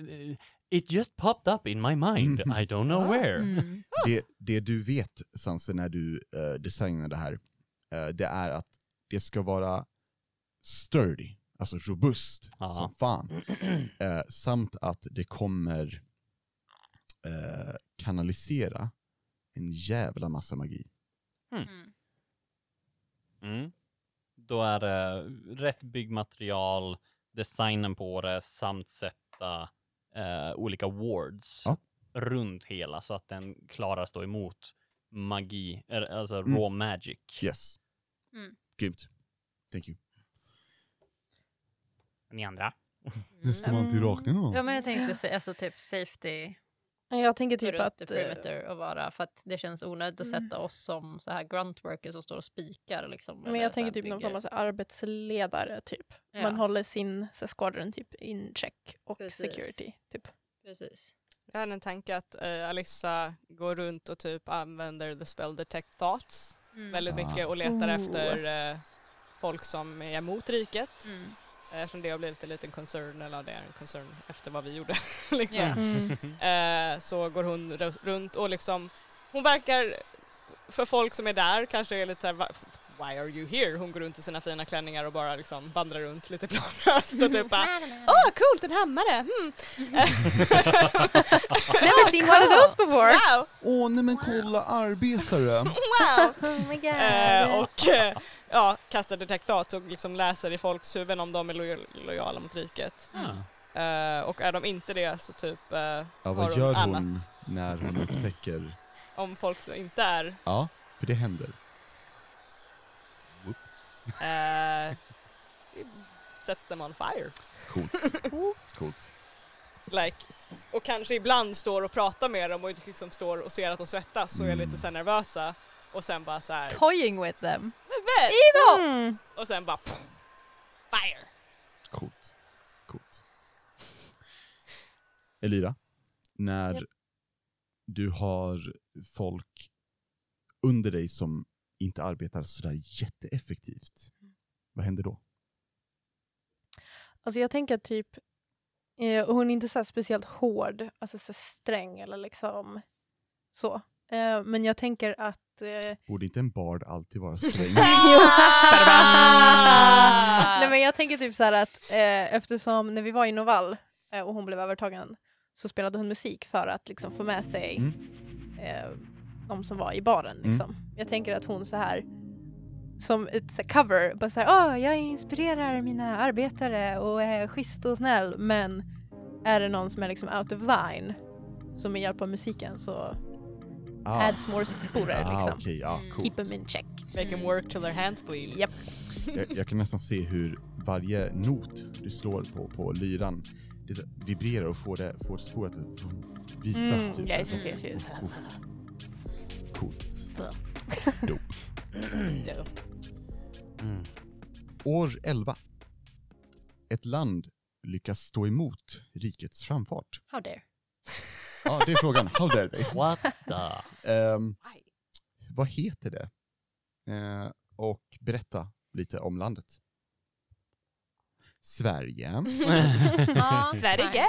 S1: it just popped up in my mind, I don't know where.
S2: Mm.
S4: det, det du vet, Sanse, när du eh, designar det här, eh, det är att det ska vara sturdy, alltså robust
S1: Ja.
S4: som fan. Eh, samt att det kommer eh, kanalisera en jävla massa magi.
S1: Mm. Då är det rätt byggmaterial, designen på det samt sätta eh, olika wards
S4: Ja.
S1: runt hela så att den klarar stå emot magi, eller, alltså
S4: Mm.
S1: raw magic.
S4: Yes.
S2: Mm.
S4: Grymt. Thank you.
S1: Ni andra?
S4: Nästa man till rakning
S2: Ja, men jag tänkte se, alltså, typ safety
S5: Jag tänker
S2: typ
S5: typ
S2: runt the
S5: att... eh,
S2: perimeter och vara för att det känns onödigt att
S5: Mm.
S2: sätta oss som så här grunt workers som står och spikar. Liksom,
S5: Men
S2: eller
S5: jag
S2: så
S5: tänker
S2: här
S5: typ någon
S2: bygger.
S5: form av så här arbetsledare typ.
S2: Ja,
S5: Man håller sin så här, squadron typ in check och
S2: Precis.
S5: security typ.
S2: Precis.
S3: Jag hade en tanke att eh, Alissa går runt och typ använder the spell detect thoughts
S2: Mm.
S3: väldigt
S4: Ah.
S3: mycket och letar
S5: Ooh.
S3: efter eh, folk som är emot riket.
S2: Mm.
S3: Eh, Eftersom det har blivit en liten concern, eller ja, det är en concern efter vad vi gjorde. liksom.
S2: Ja.
S3: eh, så går hon ru- runt och liksom, hon verkar för folk som är där kanske är lite såhär "Va- Why are you here? Hon går runt i sina fina klänningar och bara liksom vandrar runt lite planlöst och typ bara Åh coolt, en hammare! Hmm.
S2: Oh
S5: Never seen one of those before!
S3: Wow!
S4: Åh nej men kolla arbetare!
S3: Wow!
S2: Oh my god.
S3: Eh, och eh, ja, kastar detektat och liksom läser i folks huvuden om de är loj- lojala mot riket.
S1: Ah.
S3: Eh, och är de inte det så typ eh,
S4: Ja,
S3: har
S4: vad
S3: de
S4: gör
S3: annat
S4: hon när hon upptäcker?
S3: om folk som inte är
S4: Ja, för det händer.
S1: Whoops.
S3: eh, sets them on fire.
S4: Coolt. Coolt.
S3: Like, och kanske ibland står och pratar med dem och liksom står och ser att de svettas och är
S4: Mm.
S3: lite så här nervösa och sen bara så här
S2: Toying with them.
S3: "Vän!"
S2: Evil!
S5: Mm.
S3: och sen bara pff, fire.
S4: Coolt. Coolt. Elira, när
S5: Japp.
S4: du har folk under dig som inte arbetar sådär jätteeffektivt, vad händer då?
S5: Alltså jag tänker att typ, eh, och hon är inte så här speciellt hård, alltså så här sträng eller liksom så. Eh, men jag tänker att... Eh,
S4: Borde inte en bard alltid vara sträng?
S5: Jo.
S2: Ah.
S5: Nej, men jag tänker typ så här att eh, eftersom när vi var i Novall eh, och hon blev övertagen så spelade hon musik för att liksom få med sig
S4: Mm.
S5: eh, de som var i baren. Liksom. Jag tänker att hon så här som ett så här, cover, bara så här, "Åh, jag inspirerar mina arbetare och är schysst och snäll men är det någon som är liksom out of line som med hjälp av musiken så
S4: Ah,
S5: adds more sporer
S4: ah
S5: liksom.
S4: okej, ja,
S2: Mm.
S5: Keep
S4: coolt.
S5: them in check.
S3: Make them work till their hands bleed.
S5: Japp.
S4: Jag, jag kan nästan se hur varje not du slår på, på lyran det så- vibrerar och får, det, får spåret att vroom, visas.
S5: Mm,
S4: så här.
S5: yes, yes, yes, yes.
S4: Coolt.
S5: Bra.
S4: Dope.
S3: Dope.
S1: Mm.
S4: År 11. Ett land lyckas stå emot rikets framfart.
S5: How dare.
S4: Ja, det är frågan. How dare they?
S1: What the?
S4: Ehm,
S3: Aj.
S4: vad heter det? Eh, och berätta lite om landet. Sverige.
S3: Sverige.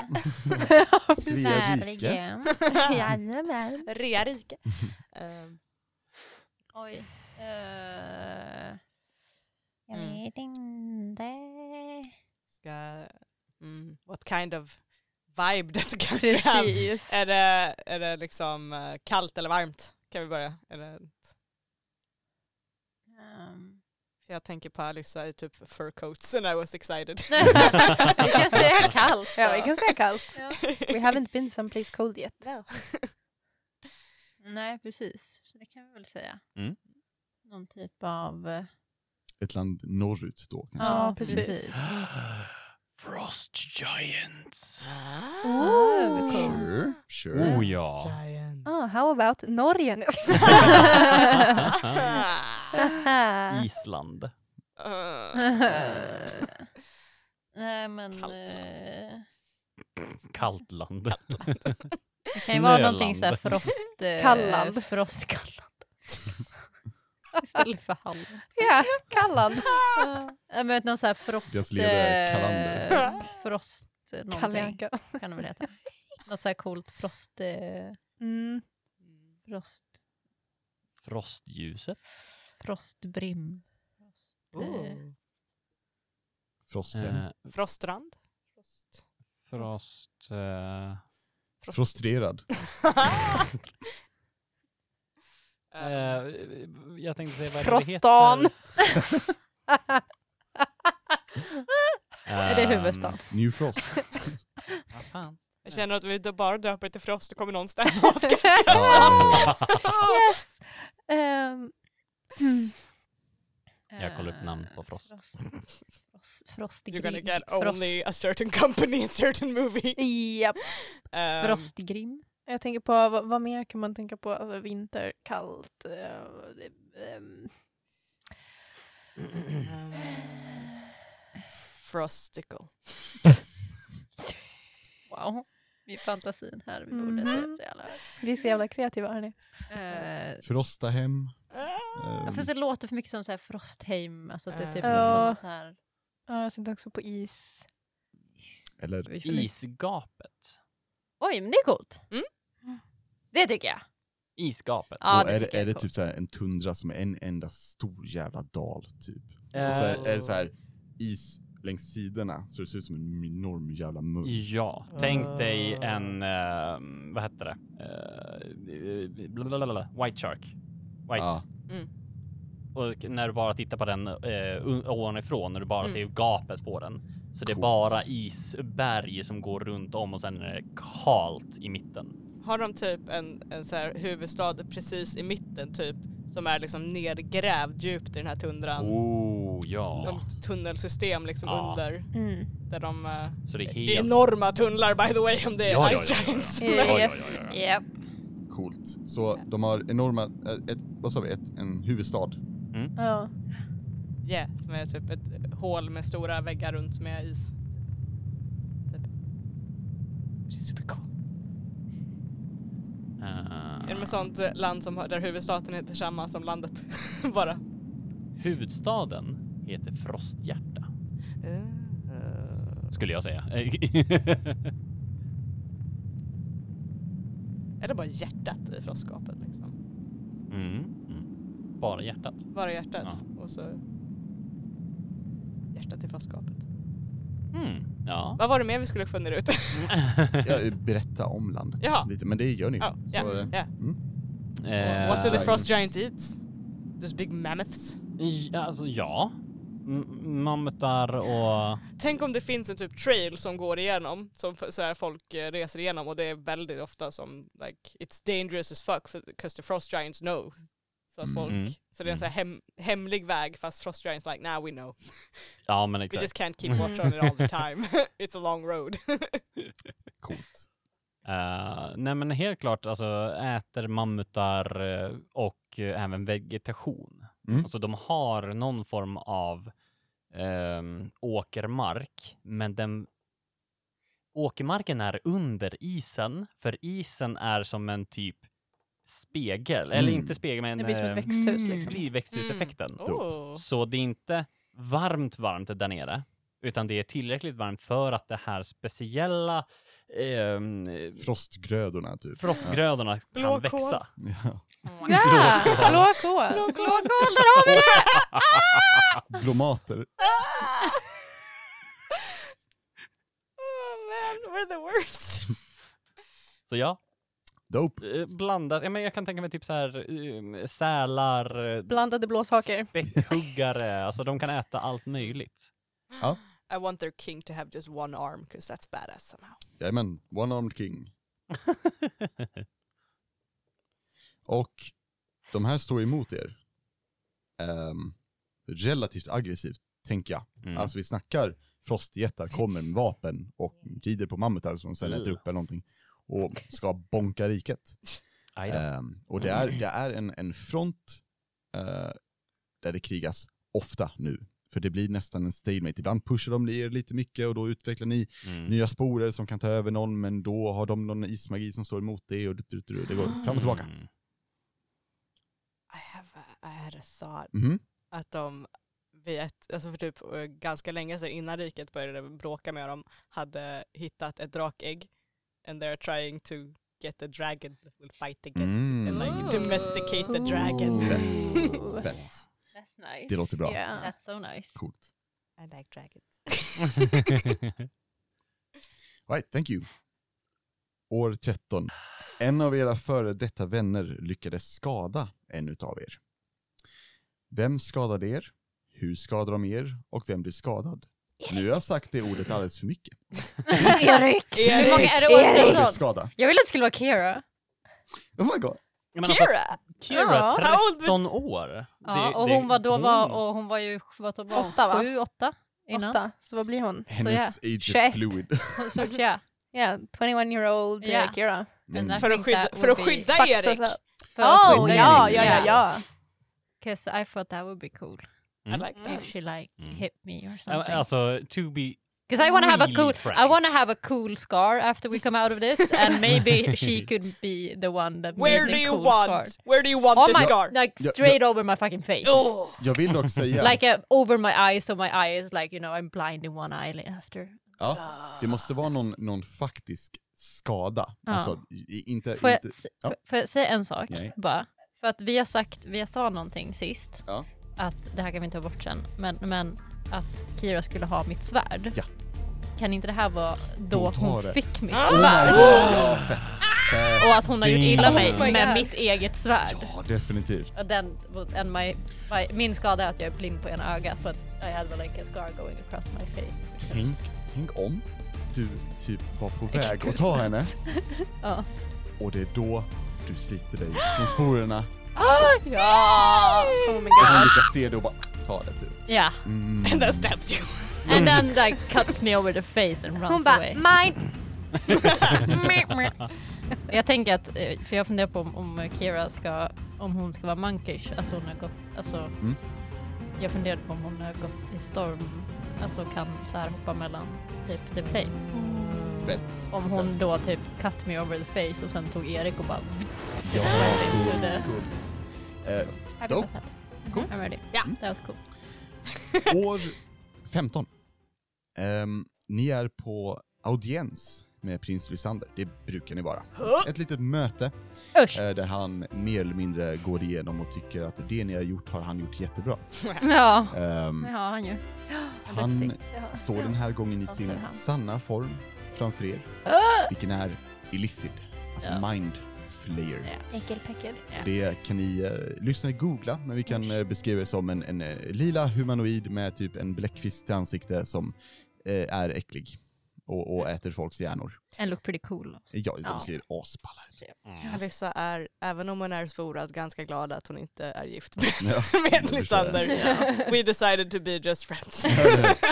S4: Svea rike.
S5: Jajamän.
S3: Rea rike. Ehm,
S2: Oj. Eh, jag
S3: Mm.
S2: vet inte.
S3: ska, mm, what kind of vibe det kanske är.
S5: Precis.
S3: Är det, är det liksom eh, kallt eller varmt? Kan vi börja? Är det,
S2: Um.
S3: för jag tänker på Alyssa i typ fur coats and I was excited.
S2: Vi kan säga kallt.
S5: Ja,
S2: då.
S5: vi kan säga kallt. We haven't been someplace cold yet.
S3: No.
S2: Nej, precis. Så det kan vi väl säga.
S1: Mm.
S2: Någon typ av...
S4: Ett land norrut då kanske.
S5: Ja, precis.
S1: Frost Giants.
S5: Ooh.
S4: Sure, sure.
S2: Mm.
S1: Oh ja.
S3: Giant.
S5: Oh, how about Norge? Nej, jag skojar.
S1: Island.
S3: Eh,
S2: Eh, Nej men...
S3: Kallt.
S2: eh,
S1: Kallt land.
S2: det kan ju vara
S1: Snöland.
S2: någonting såhär frost... eh,
S5: Kalland.
S2: Frostkalland. Istället för Halland.
S5: ja, Kalland.
S2: Nej men vet, någon sån här frost...
S4: Deras ledare är Kalander.
S2: eh, Frost eh,
S5: Kalle
S2: någonting
S5: Anka.
S2: kan det väl heta. Något så här coolt frost... eh,
S5: Mm.
S2: Frost...
S1: Frostljuset.
S2: Frostbrim. Frost, eh,
S1: Oh.
S3: Ooh.
S4: Frostrem.
S1: Eh,
S3: Frostrand? Frost.
S1: frost... Eh,
S4: Frustrerad.
S3: Eh,
S1: eh, jag tänkte säga vad
S5: Frostan.
S1: det heter.
S2: Är det
S1: Ehm,
S2: huvudstad?
S4: New Frost.
S1: Vad fan?
S3: jag känner att vi inte bara döper till Frost, då kommer någon stämma oss.
S4: Ja,
S5: Yes. Ehm, mm.
S1: Jag kollar upp
S2: eh,
S1: namn på Frost.
S2: Frost, frostig
S3: You're gonna
S2: grim.
S3: get
S2: Frost,
S3: only ehm, a certain company in certain movie.
S5: Japp.
S3: Ehm,
S2: frostgrim.
S5: Jag tänker på, vad, vad mer kan man tänka på? Alltså vinter, kallt. eh, det- ehm,
S3: ehm, Frosticle.
S2: Wow. Vi är fantasin här vid
S5: Mhm.
S2: bordet. Mm. Så jävla.
S5: vi är så jävla kreativa hörni.
S2: Eh,
S4: Frostahem.
S2: ja,
S4: ehm,
S2: fast det låter för mycket som så här Frostheim. Alltså att det är typ
S3: Ehm.
S5: Ja.
S2: något som så här...
S5: Ja, jag tänkte också på is.
S4: eller
S2: vi får-
S1: Isgapet.
S2: Oj, men det är coolt.
S3: Mm.
S2: Det tycker jag.
S1: Isgapet.
S2: Ja,
S4: då
S2: det
S4: är,
S2: tycker
S4: det,
S2: jag
S4: är det
S2: är
S4: typ så här en tundra som är en enda stor jävla dal typ. Och
S1: Eh,
S4: så är, är det så här is längs sidorna så det ser ut som en enorm jävla mun.
S1: Ja, tänk dig en,
S3: Ah.
S1: eh, vad hette det? Eh, blablabla, white shark. White.
S4: Ja.
S3: Mm.
S1: Och när du bara tittar på den eh, un- ovanifrån, när du bara
S3: Mm.
S1: ser gapet på den. Så det är
S4: Coolt.
S1: bara isberg som går runt om och sen är det halt i mitten.
S3: Har de typ en, en så här huvudstad precis i mitten typ som är liksom nergrävd djupt i den här
S4: Mm.
S3: tundran?
S1: Oh Ah. ja.
S3: Som tunnelsystem liksom
S1: Ja.
S3: under
S2: Mm.
S3: där de... eh,
S1: Så det är
S3: Det är
S1: helt...
S3: enorma tunnlar by the way om det är
S1: Ja, ja,
S3: Ice
S1: ja, ja, ja.
S3: Giants.
S1: Oj, oj, oj,
S5: Yes.
S1: oj, oj.
S5: Japp.
S4: Coolt. Så de har enorma, eh, ett, vad sa vi, ett, en huvudstad.
S1: Mm.
S5: Ja.
S3: Yeah, som är typ ett hål med stora väggar runt med is. Typ. Det är supercool.
S1: Eh,
S3: Är det med sånt eh, land som, har- där huvudstaten heter samma som landet? Bara.
S1: huvudstaden heter Frosthjärta, skulle jag säga.
S3: Eller bara hjärtat i frostskapet liksom.
S1: mm. Mm. Bara hjärtat.
S3: Bara hjärtat och så hjärtat i frostskapet.
S1: Mm. Ja.
S3: Vad var det mer vi skulle fundera ut?
S4: Ja, eh, berätta om landet
S3: Jaha.
S4: lite, men det gör ni.
S3: Ja,
S4: Så, eh,
S3: yeah.
S1: Eh,
S3: What do the
S4: Äh,
S3: frost giant eats? Those big mammoths?
S1: i- Alltså ja. M- Mammutar och...
S3: Tänk om det finns en typ trail som går igenom, som f- så här folk eh, reser igenom och det är väldigt ofta som like it's dangerous as fuck because the frost giants know. Så att
S4: Mm.
S3: folk,
S1: Mm.
S3: så det är en så här hem, hemlig väg fast frost giants like now we know.
S1: Ja men
S3: We
S1: exakt.
S3: just can't keep watch on it all the time. it's a long road.
S4: Coolt.
S1: Eh, nej men helt klart alltså äter mammutar eh, och eh, även vegetation.
S4: Mm.
S1: Alltså de har någon form av ehm, åkermark, men den åkermarken är under isen, för isen är som en typ spegel, eller
S4: Mm.
S1: inte spegel men
S5: Det blir som
S1: eh,
S5: ett växthus
S2: Mm.
S5: liksom.
S1: blir växthuseffekten.
S3: Oh.
S1: Så det är inte varmt varmt där nere, utan det är tillräckligt varmt för att det här speciella ehm,
S4: Frostgrödorna typ.
S1: frostgrödorna kan
S3: Blåkål.
S1: växa.
S4: Ja.
S5: Ja! Blåkål.
S3: Blåkål.
S5: Där har vi det!
S4: Blomater.
S3: Oh, man, we're the worst.
S1: Så ja,
S4: Dope.
S1: eh, blandat. Ja, men jag kan tänka mig typ så här eh, sälar, eh,
S5: Blandade blåshaker.
S1: späckhuggare, alltså de kan äta allt möjligt.
S3: I want their king to have just one arm because that's badass somehow.
S4: Jajamän, One-Armed King. Och de här står emot er. Ehm, relativt aggressivt, tänker jag.
S1: Mm.
S4: Alltså vi snackar frostjättar kommer med vapen och rider på mammutar som sen
S1: Mm.
S4: äter upp eller någonting. Och ska bonka riket.
S1: Aj då.
S4: Ehm, och det är, det är en, en front eh, där det krigas ofta nu. För det blir nästan en stalemate. Ibland pushar de er lite mycket och då utvecklar ni
S1: Mm.
S4: nya sporer som kan ta över någon, men då har de någon ismagi som står emot det och det, det, det går fram och tillbaka.
S1: Mm.
S3: I have a, I had a thought.
S4: Mhm.
S3: att de vid ett, alltså för typ eh, ganska länge sedan innan riket började bråka med dem hade hittat ett drakägg and they're trying to get the dragon that will fight against
S4: Mm.
S3: and like
S2: Ooh.
S3: domesticate the dragon.
S4: Fett.
S5: Ooh.
S4: Fett.
S2: That's nice.
S4: Det låter bra.
S5: Ja.
S2: That's so nice.
S4: Coolt.
S3: I like dragons.
S4: All right, thank you. År 13. En av era före detta vänner lyckades skada en utav er. Vem skadade er? Hur skadade de er? Och vem blev skadad? Nu har jag sagt det ordet alldeles för mycket.
S5: Erik!
S2: Hur många är det
S5: Erik.
S2: år
S4: Ordet
S2: 13?
S4: skada.
S2: Jag ville att det skulle vara Kira.
S4: Oh my god.
S1: Ja, men alltså,
S3: Kira!
S1: Kira,
S5: Ja.
S1: 13 år. Det-
S2: Ja, och
S1: det-
S2: hon var då
S1: hon-
S2: var, och hon var ju vad var hon,
S5: Åtta, va?
S2: sju, åtta innan.
S5: Åtta. Så vad blir hon?
S4: Hennes age is
S5: 21.
S4: fluid.
S2: Så ja,
S5: Ja, 21 year old
S2: Ja.
S5: yeah. Kira.
S2: den där
S4: Mm.
S3: För att
S2: think
S3: skydda,
S2: that
S3: för
S2: would
S3: att
S2: be-
S3: skydda
S5: Faxas
S3: Erik!
S5: up.
S2: för att
S5: Oh,
S2: skydda
S5: ja,
S2: Erik.
S5: ja, ja, ja.
S2: 'Cause I thought that would be cool
S3: I
S1: Mm.
S3: like that.
S2: if she like
S1: Mm.
S2: hit me or
S1: Ja, men
S2: something.
S1: Alltså, to be...
S2: Because I want to have a
S1: really
S2: cool,
S1: frank.
S2: I want to have a cool scar after we come out of this, and maybe she could be the one that
S3: Where do
S2: made a
S3: you
S2: cool scar.
S3: want? Where do you want
S2: Oh
S3: this
S2: my-
S3: scar?
S2: Like
S4: Ja,
S2: straight over my fucking face.
S3: Oh.
S4: Jag vill dock säga...
S2: Like uh, over my eyes, so my eye is like, you know, I'm blind in one eye after.
S4: Ja, det måste vara någon, någon faktisk skada.
S2: Ja.
S4: Alltså, i- i- inte...
S2: Får jag,
S4: inte
S2: s-
S4: ja.
S2: får- får jag säga en sak
S4: Nej.
S2: bara? För att vi har sagt, vi sa någonting sist,
S4: Ja.
S2: att det här kan vi inte ta bort sen, men, men att Kira skulle ha mitt svärd.
S4: Ja.
S2: kan inte det här vara då
S4: Hon tar
S2: hon
S4: det.
S2: fick mitt
S4: Oh
S3: Ah!
S2: svärd?
S4: Ja, fett. fett.
S2: Och att hon har gjort illa mig
S4: Oh
S5: my
S2: med
S5: God.
S2: mitt eget svärd.
S4: Ja, definitivt.
S2: Och den, and my, my, min skada är att jag är blind på ena ögat för att I had like a scar going across my face.
S4: Tänk, tänk om du typ var på väg att ta henne
S2: Ja.
S4: och det är då du sliter dig från sporerna
S2: Ja!
S5: Ah, Oh
S4: och
S5: my
S4: hon
S5: god.
S4: lyckas se det och bara ta det typ.
S2: Ja.
S4: Mm.
S3: And then stabs you.
S2: And then like cuts me over the face and runs
S5: Hon bara,
S2: away.
S5: mine!
S2: Jag tänker att, eh, för jag funderar på om, om Kira ska, om hon ska vara monkish, att hon har gått, alltså
S4: Mm.
S2: jag funderade på om hon har gått i storm, alltså kan så här hoppa mellan typ the plates.
S4: Fett.
S2: Om hon då typ cut me over the face och sen tog Erik och bara
S4: Ja,
S2: Faktiskt gjorde.
S4: coolt, coolt. Eh,
S2: Happy
S4: Jo.
S2: about that.
S4: Coolt.
S2: I'm ready.
S3: Ja.
S2: That was cool.
S4: År 15. Ehm, ni är på audiens med prins Lysander, det brukar ni vara. Ett litet möte
S2: Usch!
S4: eh, där han mer eller mindre går igenom och tycker att det ni har gjort har han gjort jättebra.
S2: Ja,
S4: Ehm,
S2: det har han ju.
S4: han står den här gången i
S2: Vad
S4: sin
S2: säger han?
S4: sanna form framför er,
S2: Ah!
S4: vilken är Illicid, alltså
S2: Ja.
S4: Mind Flayer.
S2: Ja.
S5: Äckelpäckel.
S4: Det kan ni eh, lyssna och googla, men vi kan eh, beskriva det som en, en eh, lila humanoid med typ en bläckfisk till ansikte som eh, är äcklig och, och äter folks hjärnor.
S2: And look pretty cool.
S4: Ja, de
S2: Ja.
S4: ser asballa ut.
S3: Alissa är, även om hon är sporad, ganska glad att hon inte är gift
S4: Ja.
S3: med
S4: förstår jag.
S3: Lysander. We decided to be just friends.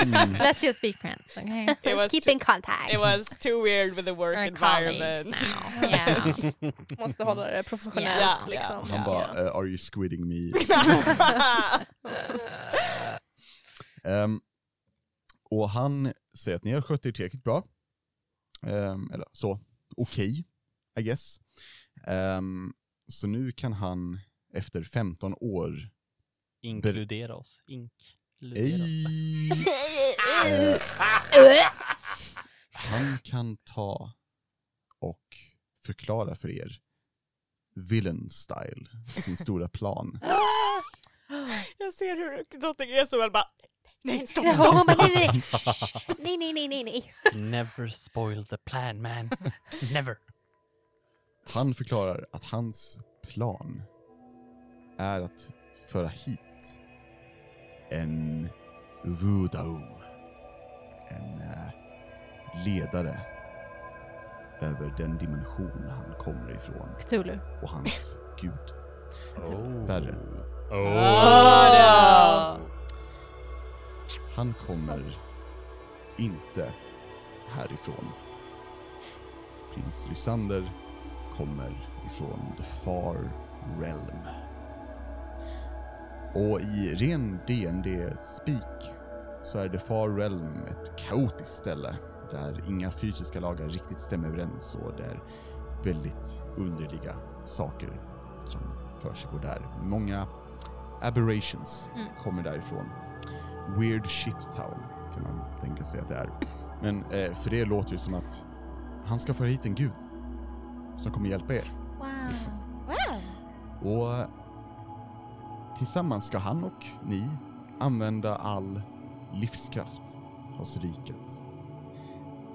S4: Mm.
S2: Let's just be friends, okay?
S3: It was,
S5: Keep
S3: too,
S5: in contact.
S3: it was too weird with the work
S2: We're
S3: environment.
S2: colleagues now. Yeah.
S5: Måste hålla det professionellt
S3: Ja, ja.
S5: liksom.
S4: Han bara, eh, are you squidding me? Ehm, och han säger att ni har skött er tillräckligt bra. Ehm, eller så, okej, I guess. Ehm, så nu kan han efter 15 år
S1: Inkludera oss. Inkludera oss.
S4: ej... eh, han kan ta och förklara för er villain style, sin stora plan.
S3: Jag ser hur drottning Esobel bara, nej stopp,
S5: Ja,
S3: stopp.
S5: hon bara, nej, nej, nej, nej, nej, nej.
S1: Never spoil the plan man. Never.
S4: Han förklarar att hans plan är att föra hit en Vudaum. En eh, ledare över den dimension han kommer ifrån
S2: Cthulhu.
S4: och hans gud.
S1: Oh.
S4: Värre.
S2: Oh.
S4: Han kommer inte härifrån. Prins Lysander kommer ifrån the far realm. Och i ren dd speak så är the far realm ett kaotiskt ställe där inga fysiska lagar riktigt stämmer överens och där väldigt underliga saker som försiggår där. Många aberrations kommer därifrån. Weird Shit Town kan man tänka sig att det är. Men eh, för det låter ju som att han ska föra hit en gud som kommer hjälpa er.
S5: Wow.
S4: Och eh, tillsammans ska han och ni använda all livskraft hos riket.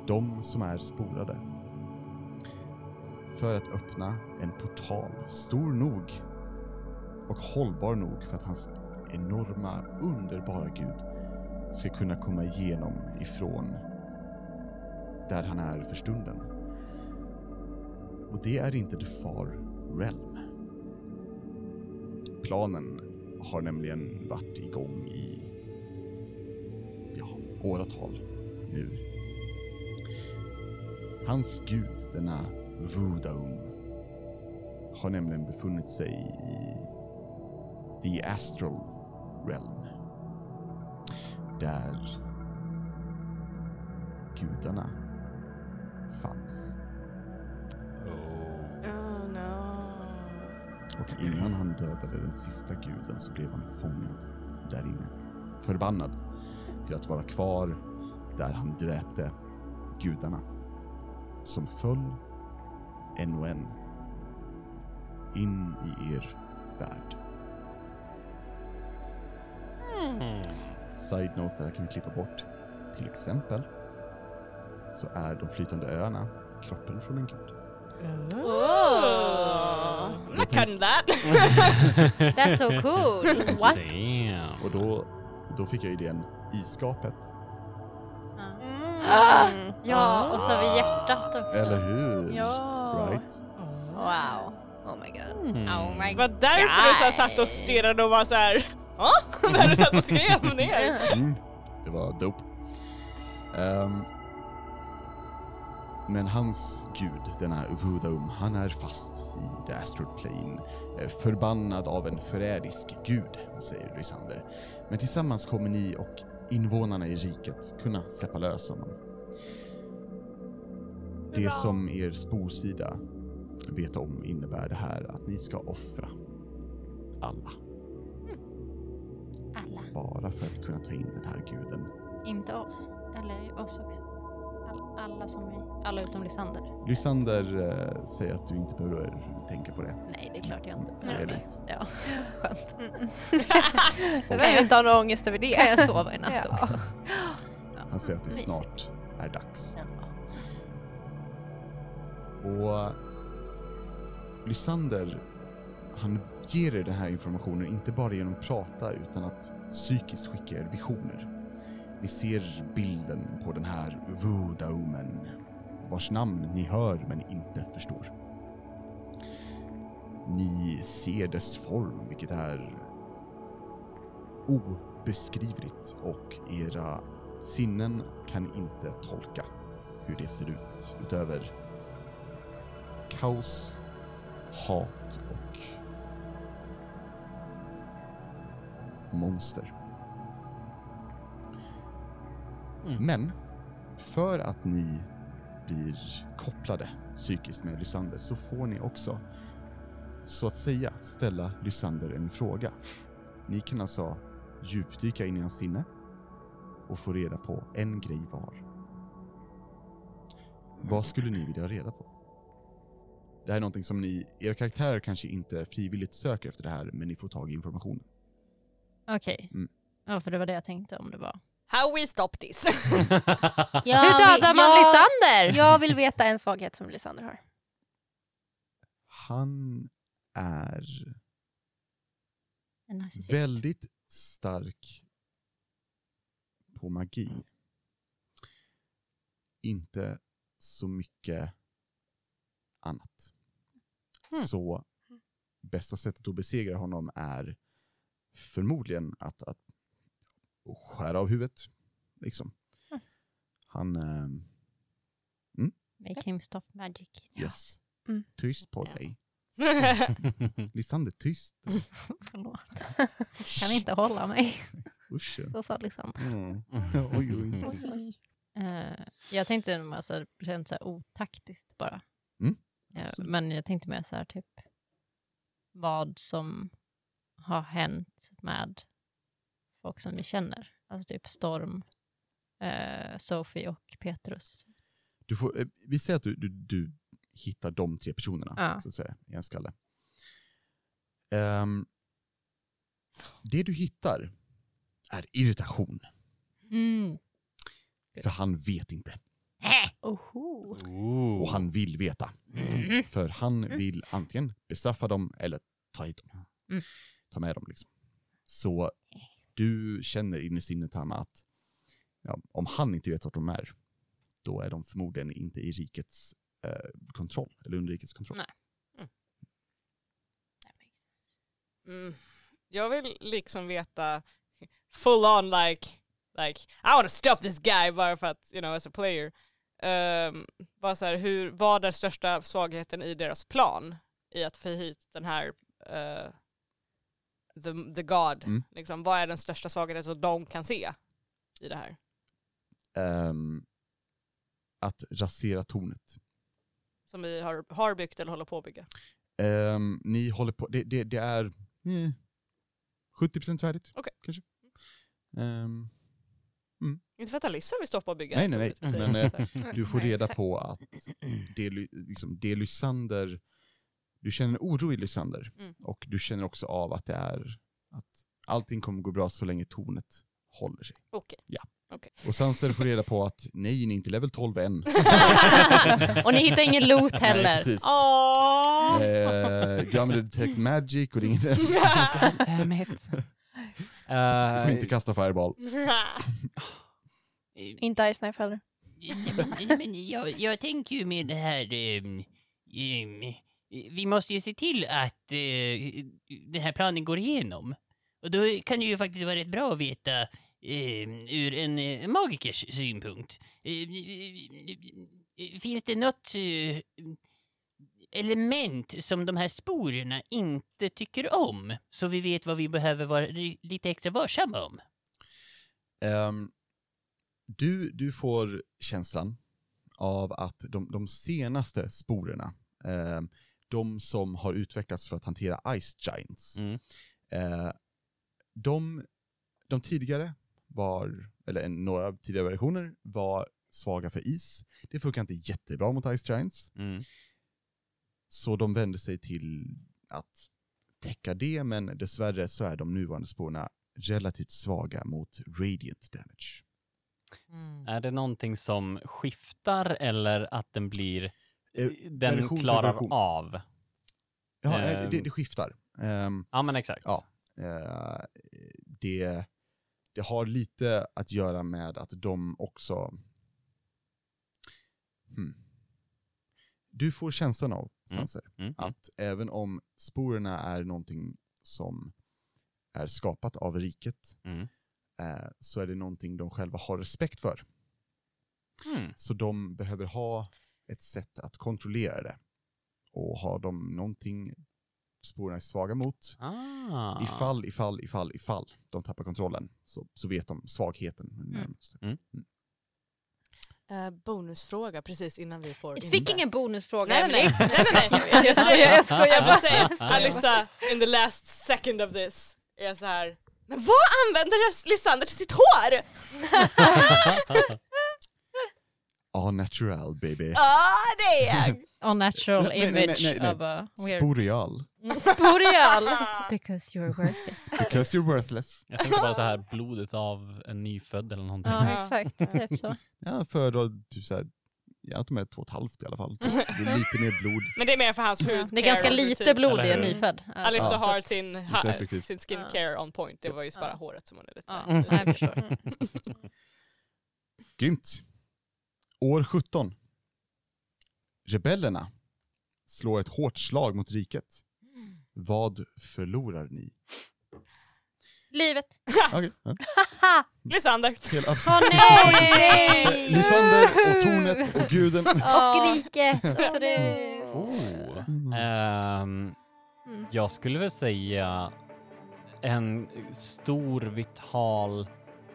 S4: De som är sporade. För att öppna en portal stor nog och hållbar nog för att hans enorma, underbara gud ska kunna komma igenom ifrån där han är för stunden. Och det är inte the far realm. Planen har nämligen varit igång i ja, åratal nu. Hans gud, denna Vudaum, har nämligen befunnit sig i The Astral Realm. Där gudarna fanns.
S3: Oh no.
S4: Och innan han dödade den sista guden så blev han fångad där inne. Förbannad till att vara kvar där han dräpte gudarna. Som föll en och en in i er värld. Side note, det här kan vi klippa bort. Till exempel så är de flytande öarna kroppen från en gud.
S2: Oh.
S3: I'm not cutting that.
S2: That's so cool. What?
S1: Damn.
S4: Och då, då fick jag idén i skapet.
S5: Mm.
S2: Ja, och så har vi hjärtat också.
S4: Eller hur?
S5: Ja.
S4: Right?
S2: Wow.
S5: Oh my god.
S1: Mm.
S2: Oh my
S3: Det var därför du så här satt och stirrade och var så här. Ja, när du satt och skrev ner.
S4: Mm. Det var dope. Ehm, men hans gud, denna Vudum, han är fast i The Astral Plane. eh, Förbannad av en förrädisk gud, säger Lysander. Men tillsammans kommer ni och invånarna i riket kunna släppa lös honom. Det som er sporsida vet om innebär det här att ni ska offra alla.
S6: Alla.
S4: Bara för att kunna ta in den här guden.
S6: Inte oss. Eller oss också. All, alla som vi. Alla utom Lysander.
S4: Lysander eh, säger att du inte behöver tänka på det.
S6: Nej, det är klart jag inte.
S4: Så är det inte.
S6: Ja, skönt.
S5: Mm. Jag vill inte ha någon ångest över det.
S6: Kan jag sova i natt
S5: Ja.
S6: också?
S4: Han säger att det
S6: Mysigt.
S4: snart är dags.
S6: Ja.
S4: Och Lysander, han ger er den här informationen inte bara genom att prata utan att psykiskt skicka er visioner. Ni ser bilden på den här Vudaumen vars namn ni hör men inte förstår. Ni ser dess form, vilket är obeskrivligt och era sinnen kan inte tolka hur det ser ut utöver kaos, hat och monster.
S1: Mm.
S4: Men för att ni blir kopplade psykiskt med Lysander så får ni också så att säga ställa Lysander en fråga. Ni kan alltså djupdyka in i hans sinne och få reda på en grej var. Vad skulle ni vilja ha reda på? Det här är någonting som ni, era karaktärer kanske inte frivilligt söker efter det här, men ni får tag i informationen.
S6: Okej.
S4: Mm.
S6: Ja, för det var det jag tänkte om det var.
S3: How we stop this.
S5: Jag
S6: Hur dödar
S5: vill-
S6: man
S5: jag-
S6: Lysander?
S5: Jag vill veta en svaghet som Lysander har.
S4: Han är
S6: En narcissist.
S4: väldigt stark på magi. Inte så mycket annat.
S1: Mm.
S4: Så bästa sättet att besegra honom är förmodligen att, att skära av huvudet. Liksom. Han... ehm,
S6: Make him stop magic.
S4: yes.
S5: Mm.
S4: Tyst på
S6: Ja.
S4: dig. Lysander, tyst.
S6: Förlåt. Kan inte hålla mig.
S4: Usch. ja.
S6: Så sa Lysander.
S4: Mm. Oj,
S1: Mm.
S4: oj.
S6: Eh, jag tänkte nog alltså, det känns så här otaktiskt bara.
S4: Mm,
S6: Eh,
S4: absolut.
S6: men jag tänkte mer så här typ vad som har hänt med folk som vi känner. Alltså typ Storm, eh, Sophie och Petrus.
S4: Du får, eh, vi säger att du, du, du hittar de tre personerna
S6: Ja.
S4: så att säga, i en skalle. Ehm, det du hittar är irritation,
S6: Mm.
S4: för han vet inte.
S5: Oho.
S1: Mm.
S4: Och han vill veta. För han vill antingen bestraffa dem eller ta hit dem.
S6: Mm.
S4: Ta med dem liksom. Så du känner in i sinnet Hanna att ja, om han inte vet vart de är, då är de förmodligen inte i rikets eh, kontroll, eller under rikets kontroll.
S6: Nej.
S3: Mm. Jag vill liksom veta full on like, like I wanna stop this guy bara för att, you know, as a player. Um, bara så här, hur, vad är största svagheten i deras plan i att få hit den här eh, the, the God?
S4: Mm.
S3: Liksom, vad är den största svagheten som de kan se i det här?
S4: ehm, att rasera tornet.
S3: Som vi har, har byggt eller håller på att bygga.
S4: Ehm, ni håller på, det, det, det är eh, 70% färdigt.
S3: Okej.
S4: Kanske. Ehm,
S3: Inte för att Alyssa vill stoppa och bygga. Mm-hmm.
S4: Nej, nej, nej.
S3: naturligtvis.
S4: Men, eh,
S3: Så här.
S4: du får reda på att det, är Ly- liksom, det är Lysander, du känner en oro i Lysander
S3: Mm.
S4: och du känner också av att det är att allting kommer gå bra så länge tornet håller sig.
S3: Okej.
S4: Ja.
S3: Okej.
S4: Och sen så får du reda på att nej, ni är inte level 12 än.
S6: och ni hittar ingen loot
S4: Nej,
S6: heller.
S4: precis.
S3: Åh!
S4: Eh, du använder detect magic och det är ingen... Du
S1: Damn it. Uh,
S4: får inte kasta fireball.
S5: Inte Ice Knife heller.
S7: Men jag, jag tänker ju med det här... ehm, ehm, eh, vi måste ju se till att eh, den här planen går igenom. Och då kan det ju faktiskt vara rätt bra att veta ehm, ur en eh, magikers synpunkt. Ehm, eh, finns det något eh, element som de här sporerna inte tycker om? Så vi vet vad vi behöver vara li- lite extra varsamma om.
S4: Ehm, du, du får känslan av att de, de senaste sporerna, ehm, de som har utvecklats för att hantera Ice Giants,
S1: Mm.
S4: eh, de, de tidigare var, eller en- några tidigare versioner, var svaga för is. Det funkar inte jättebra mot Ice Giants.
S1: Mm.
S4: Så de vände sig till att täcka det, men dessvärre så är de nuvarande spårna relativt svaga mot radiant damage.
S3: Mm.
S1: Är det någonting som skiftar eller att den blir,
S4: Eh,
S1: den
S4: version till
S1: klarar
S4: version.
S1: av?
S4: Ja, eh, det,
S1: Ehm.
S4: det skiftar. Ehm,
S1: Ja men exakt.
S4: Ja. eh, det, det har lite att göra med att de också... Hmm. Du får känslan av,
S1: Mm.
S4: Sanser,
S1: Mm.
S4: att även om sporerna är någonting som är skapat av riket,
S1: Mm.
S4: eh, så är det någonting de själva har respekt för.
S1: Mm.
S4: Så de behöver ha ett sätt att kontrollera det. Och har de någonting sporerna är svaga mot,
S1: Ah.
S4: ifall, ifall, ifall, ifall de tappar kontrollen, så, så vet de svagheten. Närmast.
S3: Eh, bonusfråga precis innan vi får
S6: Jag
S3: in
S6: fick
S3: det.
S6: ingen bonusfråga.
S3: Nej, nej, nej.
S6: Emily.
S3: nej, nej, nej. Jag säger,
S5: Jag skojar bara.
S3: jag
S1: Jag
S3: säger,
S1: skojar.
S3: Alyssa, in the last second of this, är jag så här. Men vad använder Lysander till sitt hår?
S4: Ah, natural baby.
S3: Ja, Ah, det är jag!
S6: On natural
S4: Nej, nej, nej,
S6: image
S4: nej, nej.
S6: of a weird...
S4: Sporeal.
S6: Sporeal! Because you're worth it.
S4: Because you're worthless.
S1: Jag tänkte bara så här blodet av en nyfödd eller någonting.
S6: Ja, exakt. Typ så.
S4: Ja, föredrar typ såhär, ja, att de är två och ett halvt i alla fall. Det är lite mer blod.
S3: Men det är mer för hans hud.
S6: Det är ganska
S3: typ,
S6: lite blod i en
S1: Eller hur?
S6: nyfödd. Alltså,
S3: Alyssa
S6: så
S3: har
S6: att-
S3: sin,
S4: så
S3: ha,
S4: effektivt.
S3: sin skincare on point, det var ju bara håret som hon är lite
S6: Ja,
S3: så här-
S6: jag förstår. Mm.
S4: Grymt. År 17. Rebellerna slår ett hårt slag mot riket. Vad förlorar ni?
S6: Livet.
S4: Okej. ja.
S3: Lysander!
S4: Helt
S6: Åh
S4: abs-
S6: nej!
S4: Lysander och tornet och guden.
S6: Ja.
S5: riket.
S6: Så det-
S1: Oh.
S4: Mm.
S1: Ehm,
S5: Mm.
S1: Jag skulle väl säga en stor vital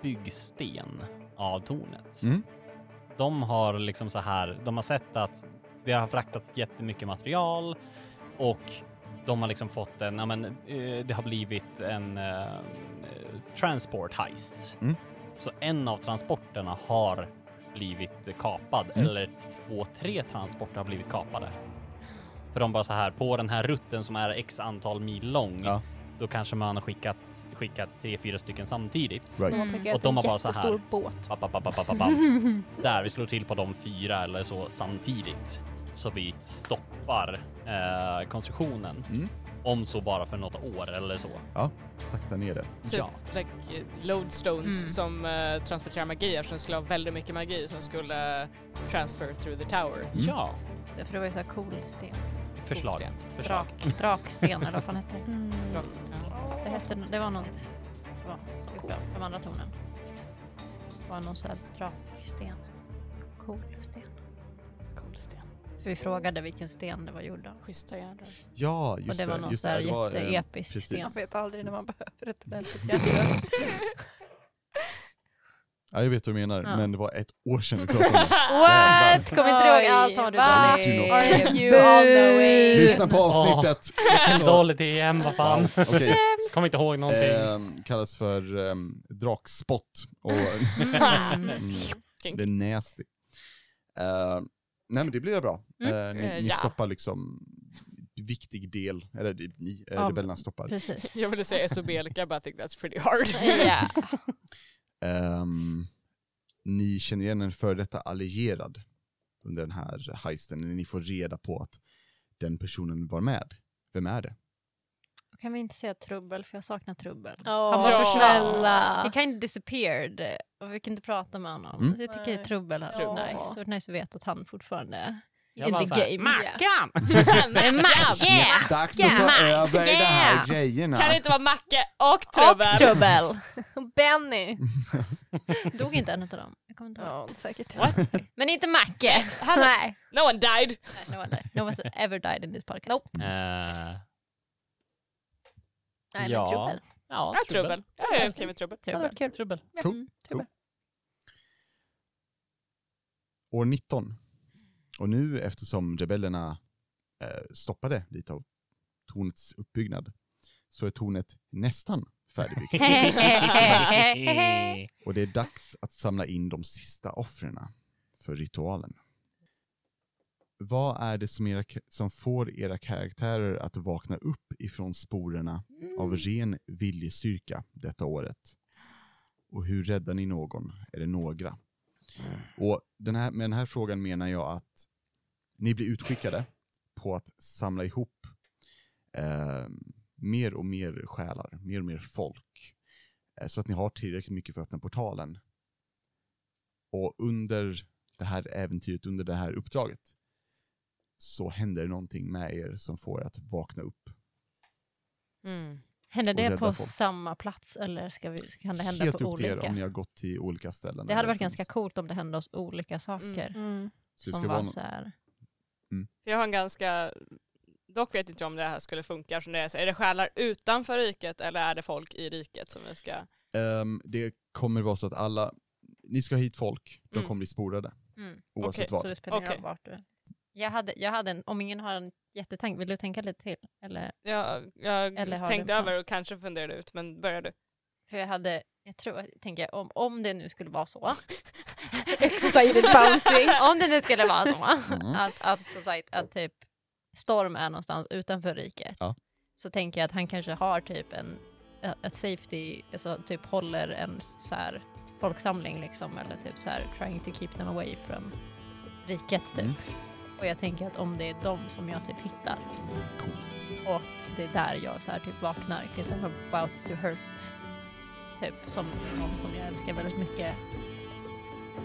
S1: byggsten av tornet.
S4: Mm.
S1: De har liksom så här, de har sett att det har fraktats jättemycket material och de har liksom fått en, ja men eh, det har blivit en eh, eh, transport heist.
S4: Mm.
S1: Så en av transporterna har blivit kapad
S4: Mm.
S1: eller två, tre transporter har blivit kapade. För de bara så här, på den här rutten som är x antal mil lång,
S4: Ja.
S1: då kanske man har skickat, skickat tre, fyra stycken samtidigt.
S4: Right.
S1: Och de har bara så här.
S5: båt.
S1: Bam, bam, bam, bam, bam, bam. Där vi slår till på de fyra eller så samtidigt. Så vi stoppar eh, konstruktionen.
S4: Mm.
S1: Om så bara för något år eller så.
S3: Mm.
S4: Ja, sakta ner det.
S3: Typ
S1: Ja.
S3: like, eh, lodestones
S6: Mm.
S3: som eh, transporterar magi eftersom det skulle ha väldigt mycket magi som skulle eh, transfer through the tower.
S4: Mm.
S1: Ja,
S6: För det var ju så här cool sten.
S1: förslag.
S3: Fotsten.
S1: förslag.
S6: Drak, draksten eller vad fan hette det?
S5: Mm.
S3: Rakt. Ja.
S6: Det, hette, det var någon... Det var något cool. De andra tornen. Det var någon sån här draksten. Cool sten.
S3: Cool sten.
S6: För vi frågade vilken sten det var gjord av.
S3: Schyssta jädrar.
S4: Ja,
S6: Och
S4: just
S6: det var någon
S4: just
S6: sån här
S4: det var, eh,
S6: jätteepisk
S4: precis.
S6: sten.
S5: Jag vet aldrig när man behöver ett ordentligt hjärta.
S4: Ja, jag vet vad du menar,
S6: Ja.
S4: men det var ett år sedan vi pratade om det.
S5: What? Kommer inte ihåg
S6: Oj,
S5: allt har du
S6: va?
S5: dåligt.
S4: Do not.
S5: Are you all the way?
S4: Lyssna på avsnittet! Alltså,
S1: Vilken dålig DM, vad fan.
S4: Ja, okej.
S1: Kommer inte ihåg någonting.
S4: Ehm, kallas för um, drakspott. Och,
S6: Mm.
S4: mm, det är nasty. Ehm, nej men det blir bra. Ehm, ni
S3: Eh,
S4: ni
S3: ja.
S4: stoppar liksom viktig del, eller det- ni, eh,
S6: Ja,
S4: rebellerna stoppar.
S6: Precis.
S3: Jag ville säga esobelika but I think that's pretty hard.
S6: Ja.
S4: Ehm, ni känner igen en före detta allierad under den här heisten. Ni får reda på att den personen var med. Vem är det?
S2: Kan vi inte säga trubbel, för jag saknar trubbel.
S5: Han
S3: var för
S8: snälla.
S2: He kind of disappeared och vi kan inte prata med honom.
S4: Mm.
S2: Jag tycker
S5: Nej.
S2: trubbel hade
S3: Trubbel.
S2: varit nice. Det hade varit nice att veta att han fortfarande
S1: Jag
S2: in
S1: bara
S2: the
S1: så här,
S2: game.
S9: Mackan!
S4: Oh, Yeah, Dags att ta över de här grejerna.
S3: Kan det inte vara Macke och
S8: Och
S3: Trubbel?
S8: trubbel.
S5: Benny!
S2: Dog inte en av dem? Jag kommer inte ihåg.
S5: Ja, säkert.
S3: What?
S2: Men inte Macke!
S5: Nej.
S3: No one died.
S2: no one died. No one's ever died in this podcast.
S5: Nope.
S1: Eh,
S5: Nej,
S1: Ja.
S5: men trubbel.
S1: ja,
S3: Ja, Trubbel. Ja, jag är okej med Trubbel.
S5: Det var
S2: Trubbel.
S5: kul.
S1: Trubbel.
S4: år 19. Och nu eftersom rebellerna eh, stoppade lite av tornets uppbyggnad så är tornet nästan färdigbyggt. och det är dags att samla in de sista offren för ritualen. Vad är det som, era, som får era karaktärer att vakna upp ifrån sporerna av ren viljestyrka detta året? Och hur räddar ni någon eller några? Och den här, med den här frågan menar jag att ni blir utskickade på att samla ihop eh, mer och mer själar, mer och mer folk. Eh, så att ni har tillräckligt mycket för att öppna portalen. Och under det här äventyret, under det här uppdraget, så händer det någonting med er som får er att vakna upp.
S2: Mm. Händer
S4: Och
S2: det
S4: rädda
S2: på
S4: folk.
S2: samma plats eller ska vi, kan det hända
S4: Helt
S2: på
S4: upp till er
S2: olika?
S4: om ni har gått till olika ställen.
S2: Det hade
S4: eller
S2: varit
S4: liksom-
S2: ganska coolt om det hände oss olika saker.
S5: Mm.
S4: Så det
S2: Som
S4: ska
S2: var
S4: vara nå-
S2: så här,
S3: För jag har en ganska, dock vet inte jag om det här skulle funka, som det är, så är det själar utanför riket eller är det folk i riket som vi ska...
S4: Ehm, det kommer vara så att alla, ni ska ha hit folk, de
S3: Mm.
S4: kommer bli sporade.
S2: Mm.
S4: Oavsett
S3: Okej,
S4: vad.
S2: så det spelar ingen
S3: Okej.
S2: roll vart du är. jag hade, jag hade en, om ingen har en jättetank, vill du tänka lite till? Eller,
S3: Jag, jag
S2: Eller har du
S3: tänkte
S2: en
S3: över och kanske funderade ut, men börjar du?
S2: för jag hade, jag tror, jag tänker om, om det nu skulle vara så.
S5: Excited bouncing.
S2: om det nu skulle vara så.
S4: Mm.
S2: Att, att, som sagt, att typ Storm är någonstans utanför riket.
S4: Ja.
S2: Så tänker jag att han kanske har typ en, ett safety, alltså typ håller en så här folksamling liksom eller typ så här trying to keep them away from riket typ.
S4: Mm.
S2: Och jag tänker att om det är dem som jag typ hittar
S4: Coolt.
S2: och att det är där jag så här typ vaknar, 'cause I'm about to hurt. Typ som någon som jag älskar väldigt mycket.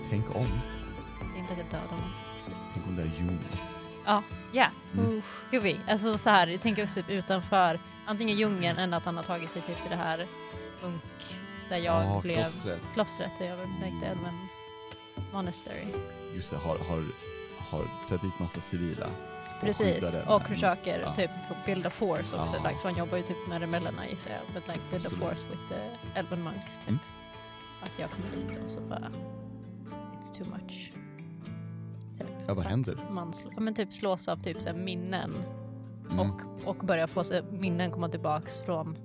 S4: Tänk om.
S2: Det är inte att jag dödar honom.
S4: Tänk om det är Juni.
S2: Ja,
S4: Mm.
S2: gud vi. Alltså så här, jag tänker också typ utanför antingen djungeln eller att han har tagit sig typ till det här bunk där jag
S4: Ja,
S2: blev...
S4: Ah, klostret.
S2: Klostret där jag upptäckte Elven Monastery.
S4: Just det, har, har, har tagit dit massa civila. och
S2: Precis,
S4: skyddade
S2: och
S4: den.
S2: försöker
S4: Ja.
S2: typ builda force också.
S4: Ja.
S2: Like, för han jobbar ju typ med rebellerna gissar jag. But like build a
S4: Absolut.
S2: force with the Elven monks typ.
S4: Mm.
S2: Att jag kommer dit och så bara... It's too much. Typ.
S4: Ja, vad
S2: Att
S4: händer?
S2: Man sl- ja, men typ slås av typ så här minnen
S4: Mm.
S2: och, och börja få så, minnen komma tillbaks från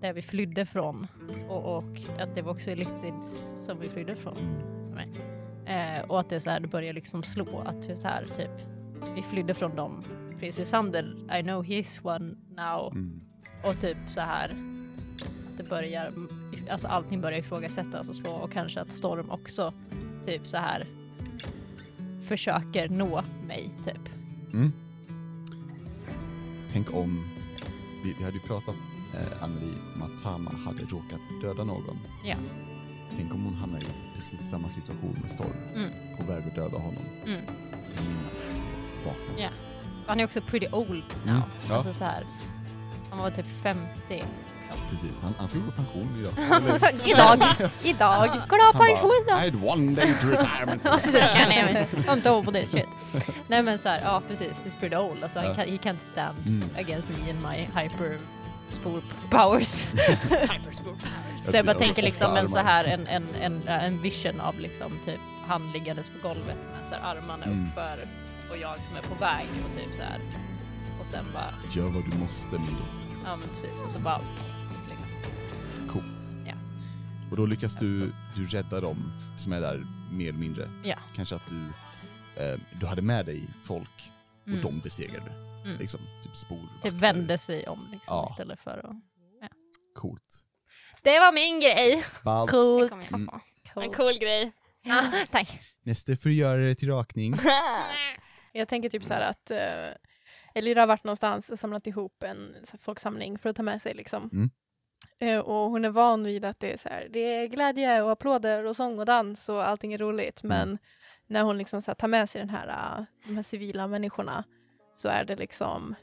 S2: där vi flydde från och, och att det var också Elithids som vi flydde från.
S4: Mm.
S2: Eh, och att det, är så här, det börjar liksom slå att det så här, typ, vi flydde från dem. Prins Lysander, I know he's one now.
S4: Mm.
S2: Och typ så här att det börjar, alltså allting börjar ifrågasättas och slå och kanske att Storm också typ så här försöker nå mig typ.
S4: Mm. Tänk om. Vi, vi hade ju pratat, eh, Annelie, om att Tama hade råkat döda någon.
S2: Ja.
S4: Tänk om hon hamnar i precis samma situation med Storm.
S2: Mm.
S4: På väg att döda honom.
S2: Mm.
S4: Innan så vaknar.
S2: Ja. Han är också pretty old now.
S4: Mm, ja.
S2: Alltså så här, han var typ 50.
S4: Precis, han, han ska gå i pension idag.
S2: Idag!
S5: Idag.
S2: Kolla
S4: Han bara,
S2: pension då!
S4: I'd one day to retirement.
S2: Nej, men, I'm too old for this shit. Nej men så här, ja precis, he's pretty old. Alltså, han
S4: Ja.
S2: kan, he can't stand
S4: Mm.
S2: against me and my hyper spor powers.
S3: Hypersport.
S2: så jag bara
S4: ser
S2: tänker
S4: åtta
S2: liksom en så
S4: armar.
S2: här en, en, en, en vision av liksom typ han liggandes på golvet med så här, armarna
S4: Mm.
S2: uppför och jag som är på väg och typ så här. Och sen bara,
S4: Gör vad du måste min dotter.
S2: ja men precis och så bara liksom.
S4: Coolt.
S2: Ja.
S4: Och då lyckas du, du rädda dem som är där mer eller mindre.
S2: Ja.
S4: Kanske att du, eh, du hade med dig folk och
S2: Mm.
S4: de besegrade.
S2: Mm.
S4: Liksom, typ spor.
S2: Typ vände sig om liksom,
S4: Ja.
S2: istället för att...
S4: Coolt.
S2: Det var min grej!
S4: Ballt.
S5: Cool.
S2: Det kommer jag
S4: Mm.
S2: pappa.
S3: En cool grej.
S2: Ja, tack.
S4: Nästa får du göra det till rakning.
S5: Jag tänker typ så här att eh, Elvira har varit någonstans och samlat ihop en så här, folksamling för att ta med sig. Liksom.
S4: Mm.
S5: Eh, och hon är van vid att det är, så här, det är glädje och applåder och sång och dans och allting är roligt.
S4: Mm.
S5: Men när hon liksom, så här, tar med sig den här, eh, de här civila människorna så är det liksom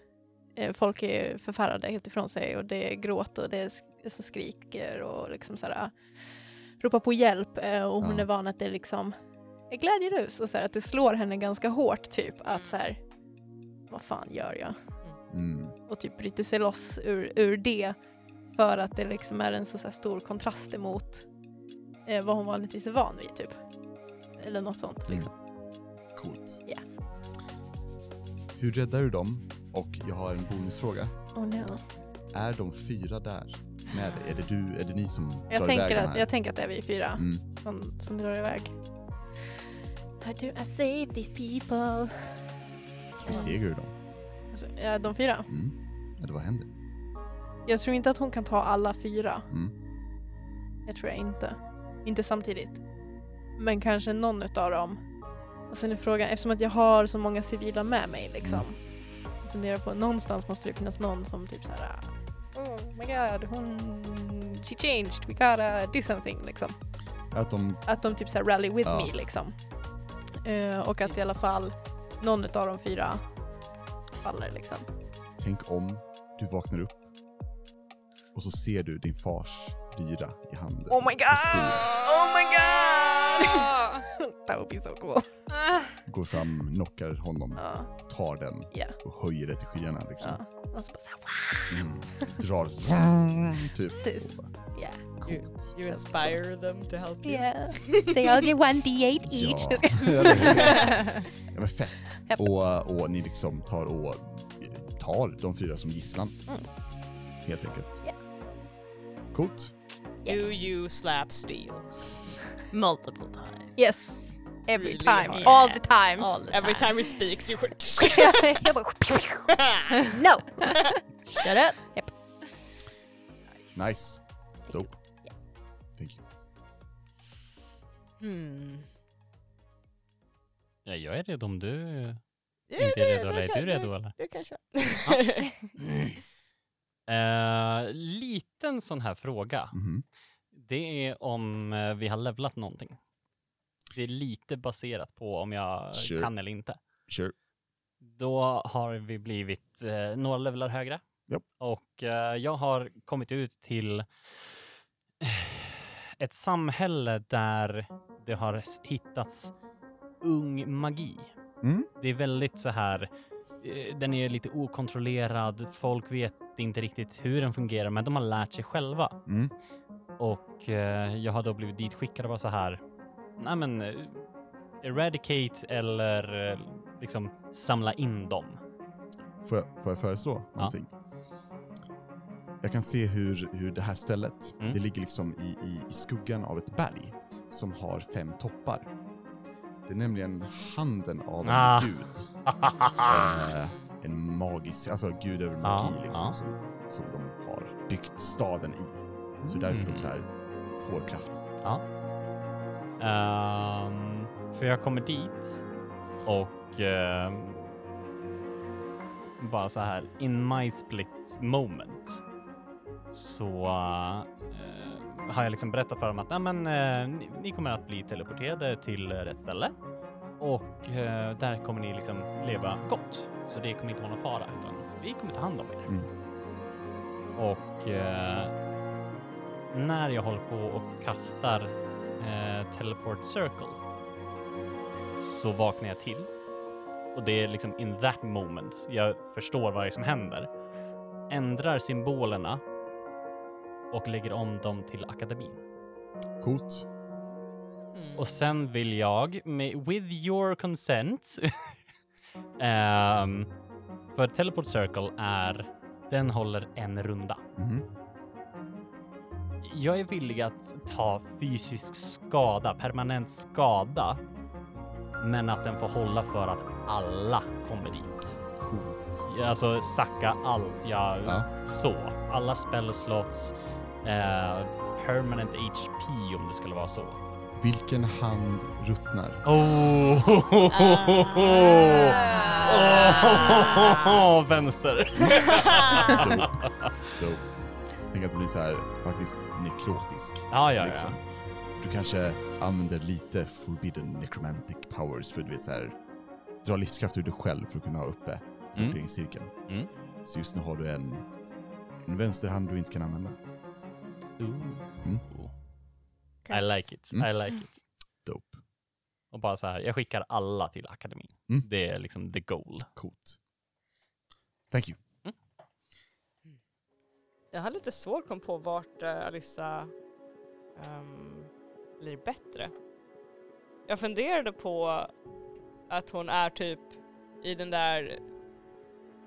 S5: eh, folk är förfärade helt ifrån sig och det är gråt och det är sk- som skriker och liksom så här, eh, ropar på hjälp. Eh, och hon
S4: Ja.
S5: är van att det är liksom är glädjerus och så här, att det slår henne ganska hårt typ att så här vad fan gör jag?
S4: Mm.
S5: Och typ bryter sig loss ur, ur det för att det liksom är en så, så här stor kontrast emot eh, vad hon vanligtvis är van vid typ. Eller något sånt
S4: Mm.
S5: liksom.
S4: Coolt.
S5: Ja.
S4: Hur räddar du dem? Och jag har en bonusfråga.
S5: Oh, no.
S4: Är de fyra där med dig? Är det du, är det ni som drar
S5: jag,
S4: iväg
S5: tänker
S4: de
S5: att,
S4: här?
S5: jag tänker att det är vi fyra
S4: Mm.
S5: som, som drar iväg. How do I save these people?
S4: Besegrar du dem?
S5: Alltså, ja, de fyra.
S4: Mm. Eller vad händer?
S5: Jag tror inte att hon kan ta alla fyra.
S4: Mm.
S5: Jag tror jag inte. Inte samtidigt. Men kanske någon utav dem. Och sen är frågan, eftersom att jag har så många civila med mig liksom.
S4: Mm.
S5: Så funderar jag på, någonstans måste det finnas någon som typ så här. Oh my god, hon... She changed, we gotta do something liksom.
S4: Att de,
S5: Att de typ så här rally with
S4: Ja.
S5: me liksom. Eh, och att i alla fall någon utav de fyra faller liksom.
S4: tänk om du vaknar upp och så ser du din fars dyra i handen.
S5: Oh my
S4: Och Stig
S5: Oh my god! That would be so cool.
S4: Går fram, knockar honom,
S5: Ja,
S4: tar den
S5: Ja.
S4: och höjer det till skyarna liksom.
S5: ja. Och så Alltså, bara så här,
S4: Mm. Drar, typ.
S5: Precis.
S4: Och bara,
S5: Ja.
S4: Coolt.
S3: You inspire them to help you.
S5: Yeah.
S6: They all get 1d8 each.
S4: Ja, ja men fett. Och, och ni liksom tar och tar de fyra som gisslan.
S5: Mm.
S4: Helt enkelt. Coolt.
S3: Do you slap steel?
S6: Multiple times.
S5: Yes. Every
S3: Really
S5: time.
S3: hard.
S5: All the times.
S6: All the
S3: Every
S6: time.
S3: time he speaks you should...
S5: Jag bara, no.
S6: Shut up!
S4: Nice. Dope. Thank you.
S3: hmm.
S1: Ja, jag är redo om du
S3: Ja,
S1: inte är
S3: det-
S1: redo.
S3: det
S1: Eller är
S3: kan-
S1: du
S3: det-
S1: redo eller?
S3: Det kanske
S1: Eh, liten sån här fråga.
S4: Mhm.
S1: Det är om eh, vi har levlat någonting. Det är lite baserat på om jag
S4: Sure.
S1: kan eller inte.
S4: Sure.
S1: Då har vi blivit eh, några levlar högre.
S4: Japp.
S1: Och eh, jag har kommit ut till eh, ett samhälle där det har s- hittats ung magi.
S4: Mm.
S1: Det är väldigt så här, eh, den är lite okontrollerad, folk vet inte riktigt hur den fungerar, men de har lärt sig själva.
S4: Mm.
S1: Och eh, jag har då blivit ditskickad och bara så här, nej men eh, eradicate eller eh, liksom samla in dem.
S4: Får, jag, får jag föreslå någonting? Jag kan se hur, hur det här stället,
S1: Mm.
S4: det ligger liksom i, i, i skuggan av ett berg som har fem toppar. Det är nämligen handen av en
S1: Ah.
S4: gud. eh, en magisk, alltså gud över magi
S1: Ja,
S4: liksom,
S1: ja.
S4: Som, som de har byggt staden i. Så därför de så här får kraften.
S1: Ehm, för jag kommer dit och ehm, bara så här in my split moment så eh, har jag liksom berättat för dem att "Nej, men, eh, ni, ni kommer att bli teleporterade till eh, rätt ställe och eh, där kommer ni liksom leva gott. Så det kommer inte vara någon fara utan vi kommer ta hand om er.
S4: Mm.
S1: Och eh, när jag håller på och kastar eh, teleport circle så vaknar jag till och det är liksom in that moment jag förstår vad det är som händer ändrar symbolerna och lägger om dem till akademin.
S4: Coolt.
S1: Och sen vill jag, med, with your consent, ehm, för teleport circle är, den håller en runda.
S4: Mhm.
S1: Jag är villig att ta fysisk skada, permanent skada, men att den får hålla för att alla kommer dit.
S4: Coolt.
S1: Alltså sacka allt jag
S4: Ja.
S1: så. Alla spell slots, eh, permanent HP om det skulle vara så.
S4: Vilken hand ruttnar?
S1: Oh!
S3: Ah.
S1: Oh, Vänster.
S4: Dope. Typ. Dope. Tänk att det blir så här faktiskt nekrotisk.
S1: Ja, ja, ja.
S4: liksom. För Du kanske använder lite forbidden necromantic powers för du vet så här, dra livskraft ur dig själv för att kunna ha uppe
S1: Mm.
S4: blodringscirkeln.
S1: Mm.
S4: Så just nu har du en, en vänsterhand du inte kan använda. Mm.
S1: I like it, I
S4: Mm.
S1: like it.
S4: Dope.
S1: Och bara så här, jag skickar alla till akademin.
S4: Mm.
S1: Det är liksom the goal.
S4: Coolt. Thank you.
S3: Jag har lite svårt att komma på vart eh, Alyssa ehm, blir bättre. Jag funderade på att hon är typ i den där,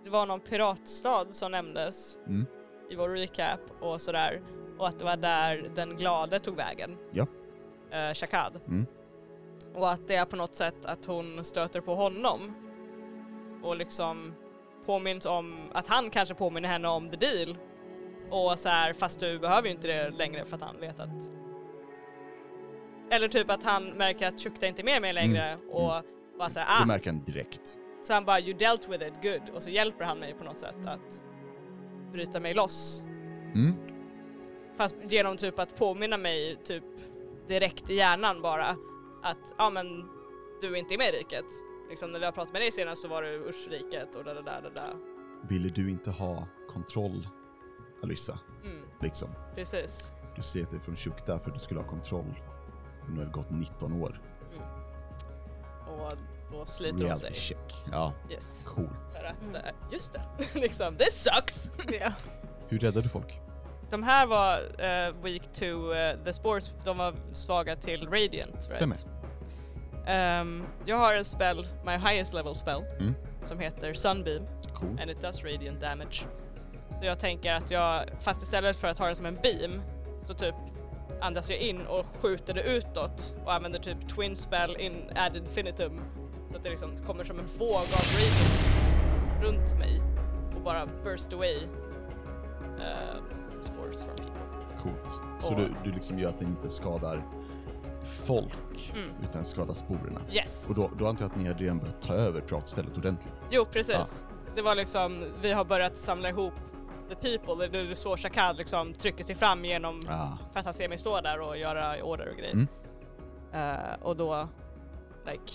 S3: det var någon piratstad som nämndes
S4: Mm.
S3: i vår recap och sådär och att det var där den glade tog vägen.
S4: Ja.
S3: Eh, Shakad.
S4: Mm.
S3: Och att det är på något sätt att hon stöter på honom och liksom påminns om att han kanske påminner henne om the deal och så här, fast du behöver ju inte det längre för att han vet att... Eller typ att han märker att Shukta inte är med mig längre
S4: Mm.
S3: och bara så här,
S4: Du
S3: ah.
S4: märker den direkt.
S3: Så han bara, you dealt with it, good. Och så hjälper han mig på något sätt att bryta mig loss.
S4: Mm.
S3: Fast genom typ att påminna mig typ direkt i hjärnan bara att, ja men du är inte med i riket. Liksom när vi har pratat med dig senast så var du i Ursriket och där, där, där, där, där.
S4: Ville du inte ha kontroll, Alyssa?
S3: Mm,
S4: Liksom.
S3: precis.
S4: Du ser att det är från Shukta för att du skulle ha kontroll. Men nu har det gått 19 år.
S3: Och då sliter hon sig.
S4: Reality check. Ja,
S3: Yes.
S4: coolt.
S3: För att, eh, just det, liksom, this sucks!
S4: Hur räddar du folk?
S3: De här var eh, weak to eh, the spores, de var svaga till radiant. Right?
S4: Stämmer.
S3: Ehm, jag har en spell, my highest level spell,
S4: Mm.
S3: som heter sunbeam
S4: Cool.
S3: and it does radiant damage. Så jag tänker att jag, fast istället för att ha det som en beam, så typ andas jag in och skjuter det utåt och använder typ twin spell in ad infinitum. Så att det liksom kommer som en våg av radiant runt mig och bara burst away eh, spores from people.
S4: Coolt. Så
S3: Och-
S4: du, du liksom gör att den inte skadar folk,
S3: Mm.
S4: utan skadar sporerna.
S3: Yes!
S4: Och då, då antar jag att ni hade redan börjat ta över pratstället ordentligt.
S3: Jo, precis. Det var liksom, vi har börjat samla ihop the people, det är så Shakad liksom trycker sig fram genom
S4: Ah.
S3: för att han ser mig stå där och göra order och grejer.
S4: Mm.
S3: Eh, och då, like,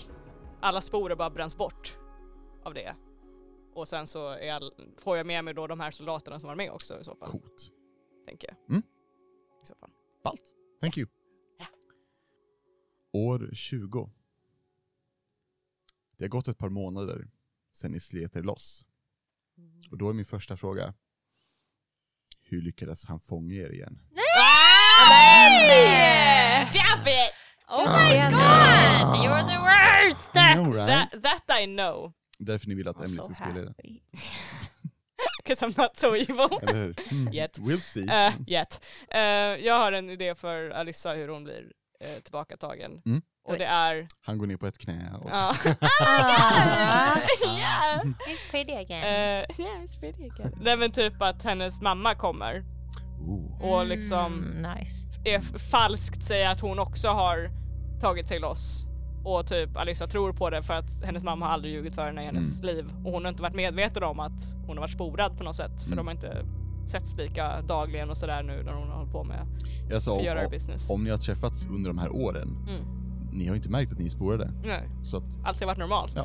S3: alla sporer bara bränns bort av det. Och sen så är all, får jag med mig då de här soldaterna som var med också i så fall,
S4: Ah, Coolt.
S3: tänker jag.
S4: Mm.
S3: I så fall.
S4: Ballt. Thank you. År 20. Det har gått ett par månader sedan ni slet er loss. Och då är min första fråga. Hur lyckades han fånga er igen?
S6: Oh my god! You're the worst!
S4: No, right?
S3: That, that I know,
S4: Därför ni vill att
S3: Alltså,
S4: Emily ska
S6: So
S4: spela det.
S6: happy.
S3: because I'm not so evil.
S4: Eller hur? Mm.
S3: Yet.
S4: We'll see.
S3: Eh, yet. Eh, jag har en idé för Alyssa hur hon blir eh, tillbakatagen.
S4: Mm.
S3: Och det är...
S4: Han går ner på ett knä och...
S3: ja. yeah.
S6: He's pretty again.
S3: Mm. Eh, yeah, it's pretty again. Nej men typ att hennes mamma kommer
S4: Oh.
S3: och liksom
S6: Mm, nice.
S3: är f- falskt säger att hon också har tagit sig loss. Och typ Alyssa tror på det för att hennes mamma har aldrig ljugit för henne i hennes
S4: Mm.
S3: liv. Och hon har inte varit medveten om att hon har varit sporad på något sätt. För
S4: Mm.
S3: de har inte setts lika dagligen och sådär nu när hon har hållit på med
S4: Jag sa,
S3: att göra
S4: om,
S3: business.
S4: om ni har träffats under de här åren,
S3: Mm.
S4: ni har inte märkt att ni är spårade.
S3: Nej,
S4: Så att,
S3: allt har varit normalt.
S4: Ja.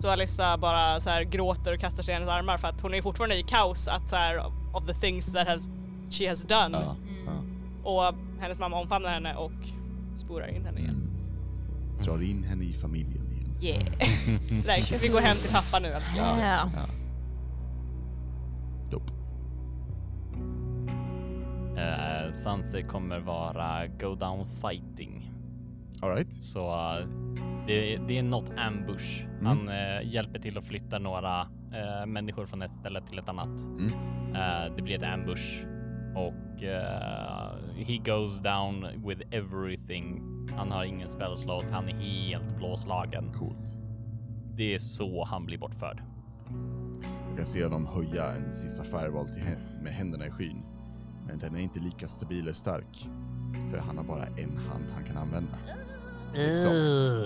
S3: Så Alyssa bara så här gråter och kastar sig i hennes armar för att hon är fortfarande i kaos att så här, of the things that has, she has done.
S4: ja.
S3: Och hennes mamma omfamnar henne och sporar in henne igen.
S4: Mm. Drar in henne i familjen igen.
S3: Yeah. like, vi går hem till pappa nu älskling.
S6: Ja.
S4: Dope.
S1: Eh, Sanse kommer vara go down fighting.
S4: Alright.
S1: Så eh, det, det är något ambush.
S4: Mm.
S1: Han eh, hjälper till att flytta några eh, människor från ett ställe till ett annat.
S4: Mm.
S1: Eh, det blir ett ambush och eh, he goes down with everything. Han har ingen spellslot, han är helt blåslagen.
S4: Coolt.
S1: Det är så han blir bortförd.
S4: Jag kan se honom höja en sista firewall till hä- med händerna i skyn. Men den är inte lika stabil eller stark. För han har bara en hand han kan använda. Liksom.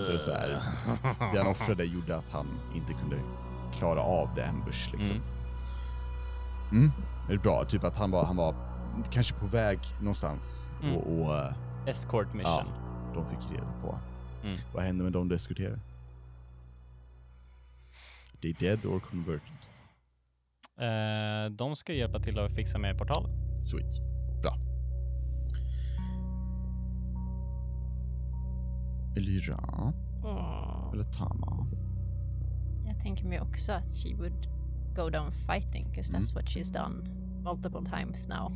S4: Så det är så här, det han offrade gjorde att han inte kunde klara av det ambush liksom.
S1: Mm.
S4: Mm. Det är bra, typ att han var, han var kanske på väg någonstans
S1: Mm.
S4: och, och eh,
S1: Escort mission.
S4: de fick reda på.
S1: Mm.
S4: Vad hände med de du eskorterade? They dead or converted?
S1: Eh, de ska hjälpa till att fixa med portalen.
S4: Sweet. Bra. Elyra eller Tama?
S2: Jag tänker mig också att she would go down fighting, because that's
S4: Mm.
S2: what she's done multiple times now.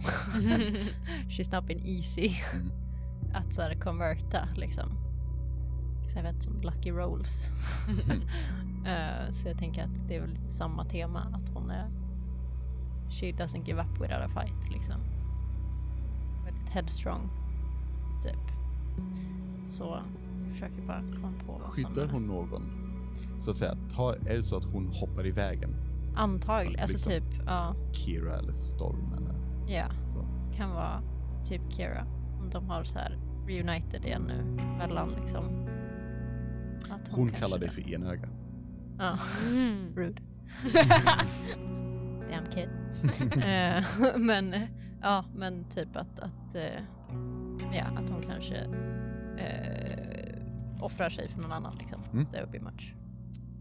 S2: she's not been easy
S4: Mm.
S2: att så här konverta liksom. Så Jag vet som Lucky Rolls. Eh, så jag tänker att det är väl lite samma tema, att hon är... She doesn't give up without a fight liksom. Väldigt headstrong, typ. Så jag försöker bara komma på vad som
S4: Skyddar
S2: är-
S4: hon någon? Så att säga, ta, är det så att hon hoppar i vägen?
S2: Antagligen, alltså
S4: Liksom.
S2: typ, ja.
S4: Kira eller Storm eller
S2: Ja,
S4: så?
S2: kan vara typ Kira. Om de har så här reunited igen nu mellan liksom. Att
S4: Hon
S2: kanske-
S4: kallar dig för enöga.
S2: Ja, rude. Damn kid. Eh, men ja, men typ att, att eh, ja, att hon kanske eh, offrar sig för någon annan liksom.
S4: Mm.
S2: That would be much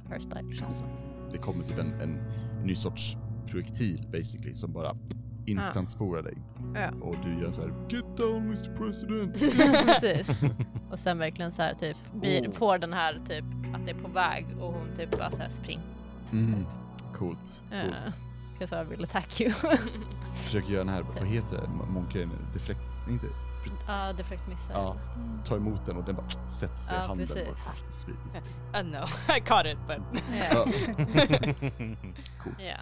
S2: her style. känns det som.
S4: Det kommer typ en, en ny sorts projektil basically som bara instant spårar dig.
S2: Ja.
S4: Och du gör så här Get down Mr President!
S2: Precis. Och sen verkligen så här typ blir,
S4: Oh.
S2: får den här typ att det är på väg och hon typ bara så här springer.
S4: Mm. Coolt.
S2: Ja.
S4: coolt.
S2: Because Eh, I will attack you.
S4: Försöker göra den här, vad heter det, Mon- monkeyn, deflekt, inte,
S2: Ja, deflect missar.
S4: ja, ta emot den och den bara sätter sig i
S2: Ja,
S4: handen. och
S2: precis.
S4: bara sprids.
S3: Uh, no, I caught it but...
S2: Ja.
S4: Ja, coolt.
S2: Ja.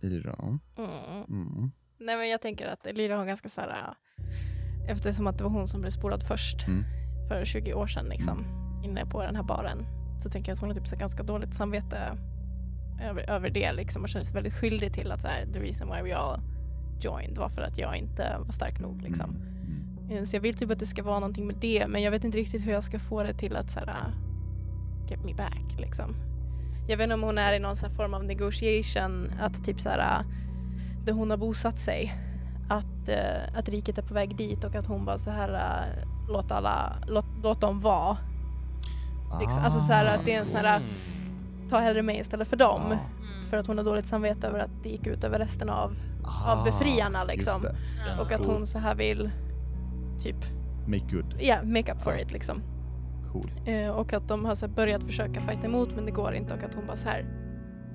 S4: Ira.
S5: Mm.
S4: Mm.
S5: Nej men jag tänker att Lyra har ganska så här, äh, eftersom att det var hon som blev spolad först
S4: Mm.
S5: för 20 år sedan liksom, inne på den här baren, så tänker jag att hon har typ så här ganska dåligt samvete över, över det liksom och känner sig väldigt skyldig till att så här, the reason why we all joined var för att jag inte var stark nog liksom.
S4: Mm.
S5: Eh, Så jag vill typ att det ska vara någonting med det men jag vet inte riktigt hur jag ska få det till att så här, ah, get me back liksom. Jag vet inte om hon är i någon så här form av negotiation att typ så här där hon har bosatt sig att, eh, att riket är på väg dit och att hon bara så här eh, låt alla, låt, låt dem vara. Ex- alltså så här att det är en sån här- Ta hellre mig istället för dem.
S4: Ah,
S5: För att hon har dåligt samvete över att det gick ut över resten av,
S4: ah,
S5: av befriarna liksom.
S4: Just det.
S1: Ja.
S5: Och att hon
S1: Coolt.
S5: så här vill typ,
S4: Make good.
S5: ja, make up for
S4: Ja.
S5: it liksom.
S4: Coolt.
S5: Eh, och att de har så här börjat försöka fighta emot men det går inte och att hon bara så här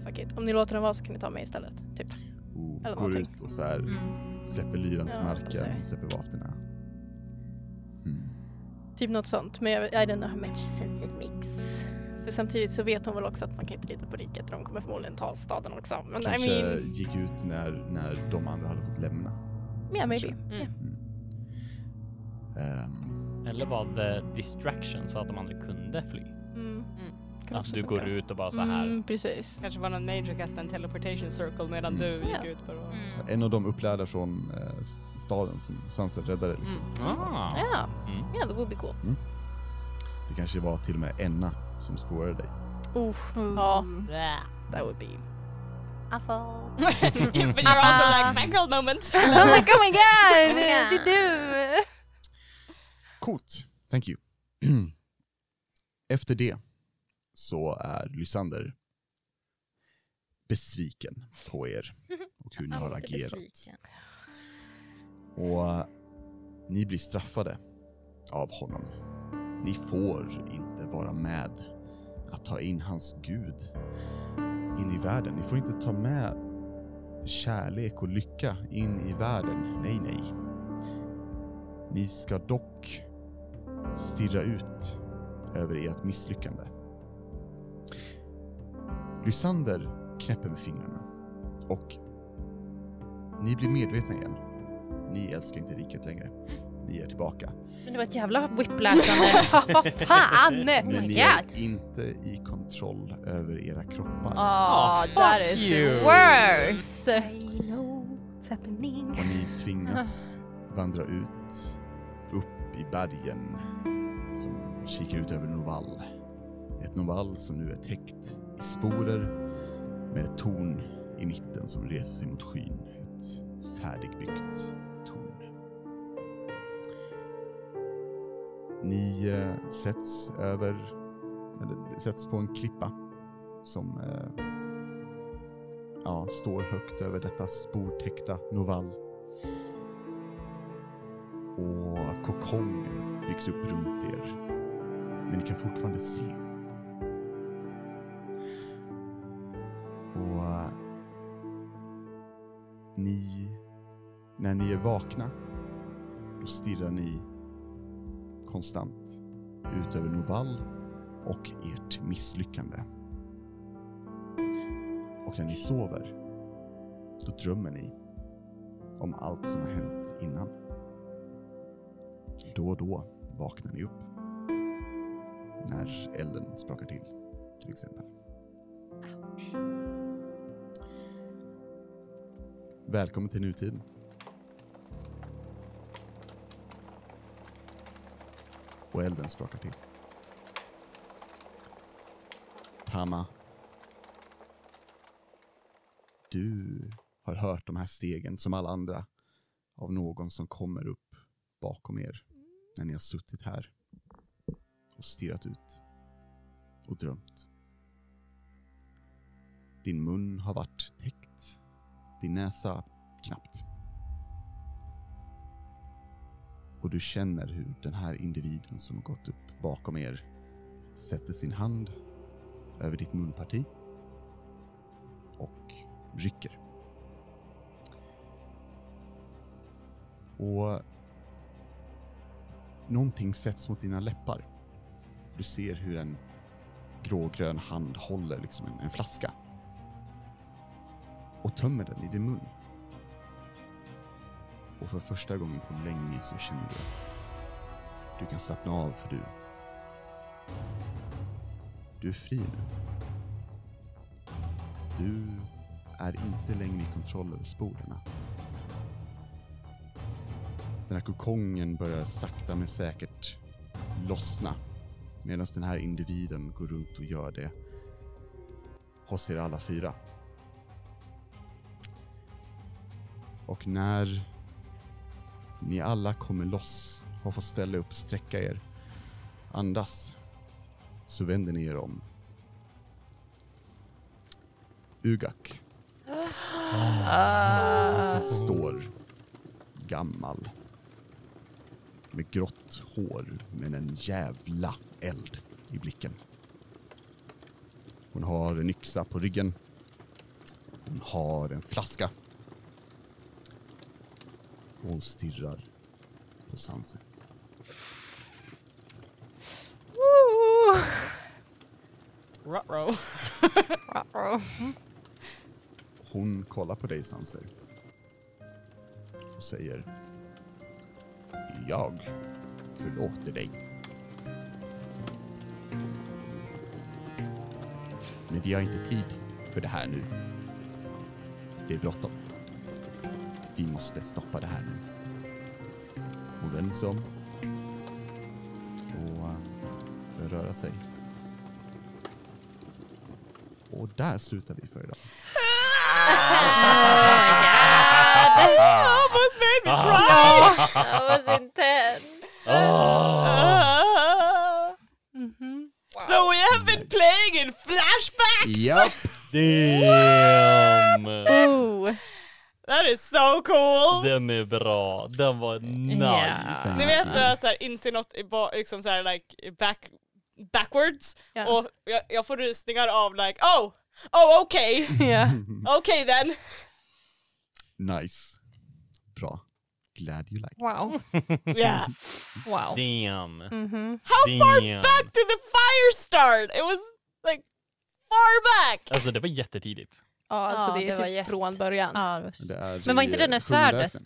S5: Fuck it. Om ni låter dem vara så kan ni ta mig istället. Typ.
S4: Och
S5: eller
S4: Oh, går
S5: någonting.
S4: ut och så här
S2: Mm.
S4: släpper lyran till
S5: Ja,
S4: marken,
S5: precis.
S4: släpper vapnen. Mm.
S5: typ något sånt. Men jag, I don't know how much sense it makes. För samtidigt så vet hon väl också att man kan inte lita på riket. De kommer förmodligen ta staden också. Men
S4: Kanske
S5: I mean,
S4: gick ut när, när de andra hade fått lämna.
S5: yeah maybe.
S4: kanske.
S1: Mm.
S5: Yeah.
S4: Ehm,
S1: Eller var det distraction så att de aldrig kunde fly?
S5: Mm.
S3: Mm.
S5: Kan
S1: Att
S5: också
S1: du går
S5: funka.
S1: ut och bara så här.
S5: Mm, precis.
S3: Kanske var någon major kastade en teleportation circle medan
S4: Mm.
S3: du gick
S5: Ja.
S3: ut för att...
S4: en av de upplärda från eh, s- staden som Sunset räddade liksom.
S1: Ah.
S5: Ja,
S1: Mm.
S5: ja det vore bli cool. Mm.
S4: Det kanske var till och med Enna som spårade dig.
S5: Uff,
S2: Mm.
S5: ja,
S3: Blah.
S5: that would be.
S3: But you're also like fangirl moments.
S5: I'm like, oh my god,
S2: my
S5: det är du!
S4: Coolt! Thank you. Efter det så är Lysander besviken på er och hur ni har
S2: Alltid
S4: agerat.
S2: besviken.
S4: Och eh, ni blir straffade av honom. Ni får inte vara med att ta in hans gud in i världen. Ni får inte ta med kärlek och lycka in i världen. Nej, nej. Ni ska dock stirra ut över ert misslyckande. Lysander knäpper med fingrarna och ni blir medvetna igen. Ni älskar inte riket längre. Ni är tillbaka.
S2: Men det var ett jävla whiplashande. Vad fan! Oh
S4: Men
S2: my
S4: ni
S2: god!
S4: är inte i kontroll över era kroppar.
S2: Ah,
S1: fuck
S2: that is
S1: you.
S2: the worst!
S5: I know what's happening.
S4: Och ni tvingas vandra ut upp i bergen som kikar ut över Novall. Ett Novall som nu är täckt i sporer med ett torn i mitten som reser sig mot skyn. Ett färdigbyggt torn. Ni eh, sätts över, eller sätts på en klippa som eh, ja, står högt över detta sportäckta Novall. Och kokongen byggs upp runt er. Men ni kan fortfarande se. Och eh, ni, när ni är vakna, då stirrar ni konstant ut över Novall och ert misslyckande. Och när ni sover, då drömmer ni om allt som har hänt innan. Då och då vaknar ni upp. När elden sprakar till, till exempel. Välkommen till nutiden. Och elden sprakar till. Tama du har hört de här stegen som alla andra av någon som kommer upp bakom er när ni har suttit här och stirrat ut och drömt. Din mun har varit täckt, din näsa knappt. Och du känner hur den här individen som har gått upp bakom er sätter sin hand över ditt munparti och rycker. Och någonting sätts mot dina läppar. Du ser hur en grågrön hand håller liksom en, en flaska och tömmer den i din mun. Och för första gången på länge så känner du att du kan slappna av för du du är fri nu. Du är inte längre i kontroll över sporerna. Den här kokongen börjar sakta men säkert lossna medan den här individen går runt och gör det hos er alla fyra. Och när ni alla kommer loss och får ställa upp, sträcka er, andas, så vänder ni er om. Ugak står gammal. Med grått hår, men en jävla eld i blicken. Hon har en yxa på ryggen. Hon har en flaska. Och hon stirrar på Sanse.
S3: Ruh-roh.
S4: Hon kollar på dig, Sanser. Och säger... Jag förlåter dig. Men vi har inte tid för det här nu. Det är bråttom. Vi måste stoppa det här nu. Hon vänder sig om och eh, börjar röra sig. Och där slutar vi för idag.
S1: Ah,
S3: Almost made me cry!
S2: That was intense.
S1: Ah.
S3: Ah. So we have been playing in flashback!
S4: Japp!
S1: Damn!
S5: Oh.
S3: That is so cool!
S1: Den är bra. Den var nice.
S6: Ja.
S3: Ni vet när jag så här inser något i ba- liksom så här, like, back, backwards
S5: Ja.
S3: och jag, jag får rysningar av like oh, oh okej, okay.
S5: Ja.
S3: okej then.
S4: Nice. Bra. Glad you like.
S5: Wow.
S3: Yeah.
S6: Wow.
S1: Damn.
S5: Mhm.
S3: How
S1: Damn.
S3: far back did the fire start? It was like far back!
S1: Alltså det var jättetidigt.
S5: Ja, alltså
S2: Ja,
S5: det är
S2: det var
S5: typ
S2: jätte-
S5: från början.
S2: Ja, det var så-
S4: Det är
S2: Men var
S4: i,
S2: inte
S4: eh,
S2: det när
S4: sjunde
S2: svärdet...
S4: öknen.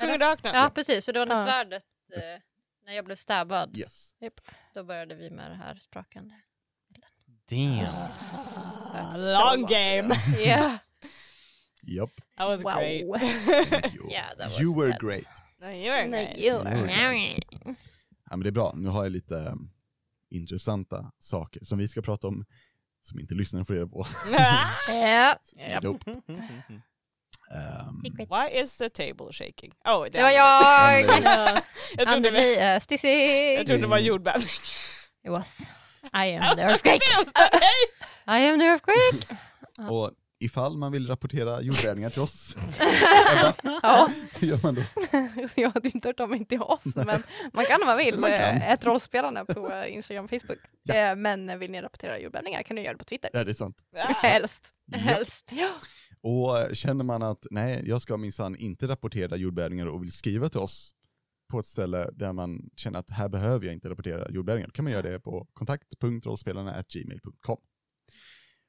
S3: Sjungökna.
S2: Ja, precis. För det var när
S5: Ja.
S2: svärdet... Eh, när jag blev stabbad,
S4: Yes.
S2: då började vi med det här sprakande.
S1: Damn.
S3: Ah, Long game.
S5: Yeah.
S4: Yep.
S3: That was
S5: Wow.
S3: great.
S4: Thank you.
S2: Yeah, that was
S4: you were
S2: intense.
S4: great.
S3: No, you were great.
S5: you
S4: You were great. ja, men det är bra, nu har jag lite ehm, intressanta saker som vi ska prata om, som inte lyssnarna får reda på.
S2: Ja,
S4: Yep. Dope. Ehm,
S3: Why is the table shaking? Oh,
S2: det var jag!
S4: men, eh,
S3: Jag trodde, vi,
S2: Anneli är stissig!
S3: jag trodde det var jordbävning.
S2: eh, It was. I am
S3: Alltså,
S2: the earthquake!
S3: jag sa, hej!
S2: I am the earthquake!
S4: Um, och ifall man vill rapportera jordbävningar till oss,
S5: Ja,
S4: hur gör man då?
S5: så jag hade ju inte hört om inte oss, men man kan om man vill.
S4: Man kan.
S5: eh, Ett rollspelande på eh, Instagram och Facebook. Eh, Men eh, vill ni rapportera jordbävningar kan ni göra det på Twitter.
S4: Ja, det är sant.
S3: Ah,
S5: Helst.
S4: Ja.
S5: Ja.
S4: Och eh, känner man att nej, jag ska minsann inte rapportera jordbävningar och vill skriva till oss på ett ställe där man känner att här behöver jag inte rapportera jordbävningar, då kan man göra det på kontakt.rollspelarna.gmail.com.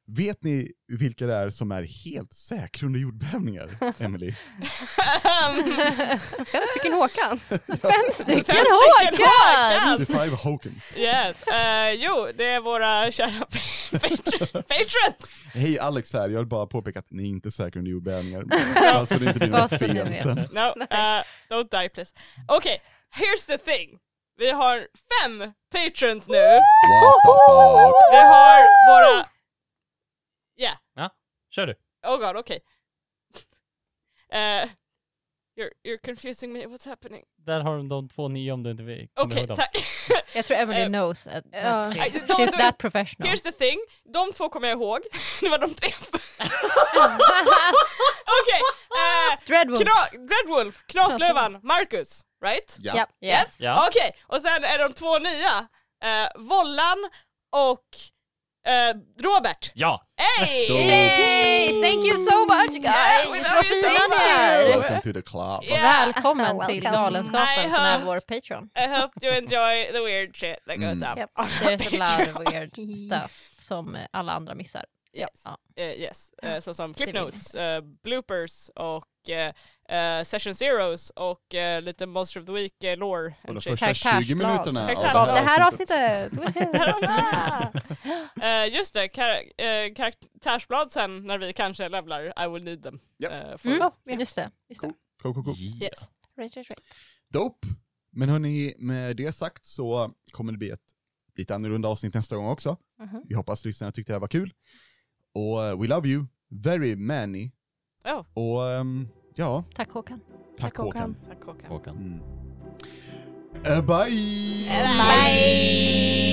S4: Vet ni vilka det är som är helt säkra under jordbävningar, Emily?
S3: Um,
S5: Fem stycken Håkan.
S2: Fem stycken
S3: stycken
S2: Håkan!
S3: Håkan!
S4: The Five Hawkins.
S3: Yes. eh, jo, det är våra kära patr- patrons.
S4: Hej Alex här, jag vill bara påpeka att ni är inte säkra under jordbävningar. Bara så det inte blir
S2: Bara
S4: något
S2: så ni
S4: fel
S2: vet.
S4: sen.
S3: No, eh, don't die please. Okej, here's the thing. Vi har fem patrons nu.
S4: What the fuck?
S3: Vi har våra... Yeah.
S1: Kör du.
S3: Oh god, okej. Eh, you're, you're confusing me, what's happening?
S1: Där har de de två nya om du inte vill. kommer
S3: Okej,
S1: ihåg dem.
S3: tack.
S2: Jag tror Emily
S3: Eh,
S2: knows. At,
S5: ja.
S2: at
S3: I-
S2: she's-
S3: de-
S2: she's
S3: de-
S2: that professional.
S3: Here's the thing, de två kommer jag ihåg. det var de tre. okej, eh,
S2: Dreadwood.
S3: Kna- Red Wolf, Knaslövan, Marcus, right?
S4: Ja.
S5: Ja.
S3: Yes,
S1: Ja.
S3: okej. Och sen är de två nya, eh, Vollan och eh, Robert.
S1: Ja!
S3: Hey!
S4: Då-
S2: Yay! Thank you so
S3: Yeah,
S2: much
S3: we
S2: guys!
S3: love
S2: Vad
S3: you
S2: fina
S3: so
S2: ni
S3: much.
S2: är!
S4: Welcome to the club.
S2: Och
S3: Yeah.
S2: välkommen
S5: Welcome.
S2: till Galenskapen
S3: I
S2: som är
S3: hope-
S2: vår Patreon.
S3: I hope you enjoy the weird shit that goes
S4: Mm.
S3: up.
S5: Yep.
S3: on the
S2: There's a lot
S3: Patreon.
S2: of weird stuff som eh, alla andra missar.
S3: Yes.
S2: Ja.
S3: Eh, yes. Eh, så som clip
S2: Ah, Det vill
S3: notes, eh, bloopers och eh, eh, session zeros och eh, lite Monster of the Week uh, lore.
S4: Och de
S3: and
S4: första
S2: Karaktärsblad.
S4: 20 minuterna av det
S3: Karaktärsblad.
S4: här,
S5: Det här
S4: avsnittet.
S5: avsnittet.
S3: Eh, just det, kar- eh, karaktärsblad sen när vi kanske levlar I will need them.
S4: Japp.
S3: eh, för-
S5: Mm.
S2: Just det.
S4: Go, go, go.
S3: Yes.
S5: Right, right, right.
S4: Dope! Men hörni, med det sagt så kommer det bli ett lite annorlunda avsnitt nästa gång också. Vi hoppas lyssnarna tyckte det här var kul. Och eh, we love you, very many.
S3: Oh.
S4: Och ehm, ja,
S2: Tack Håkan.
S4: tack, Håkan.
S3: Tack Håkan.
S1: Håkan.
S4: Mm. Eh, bye!
S1: Bye!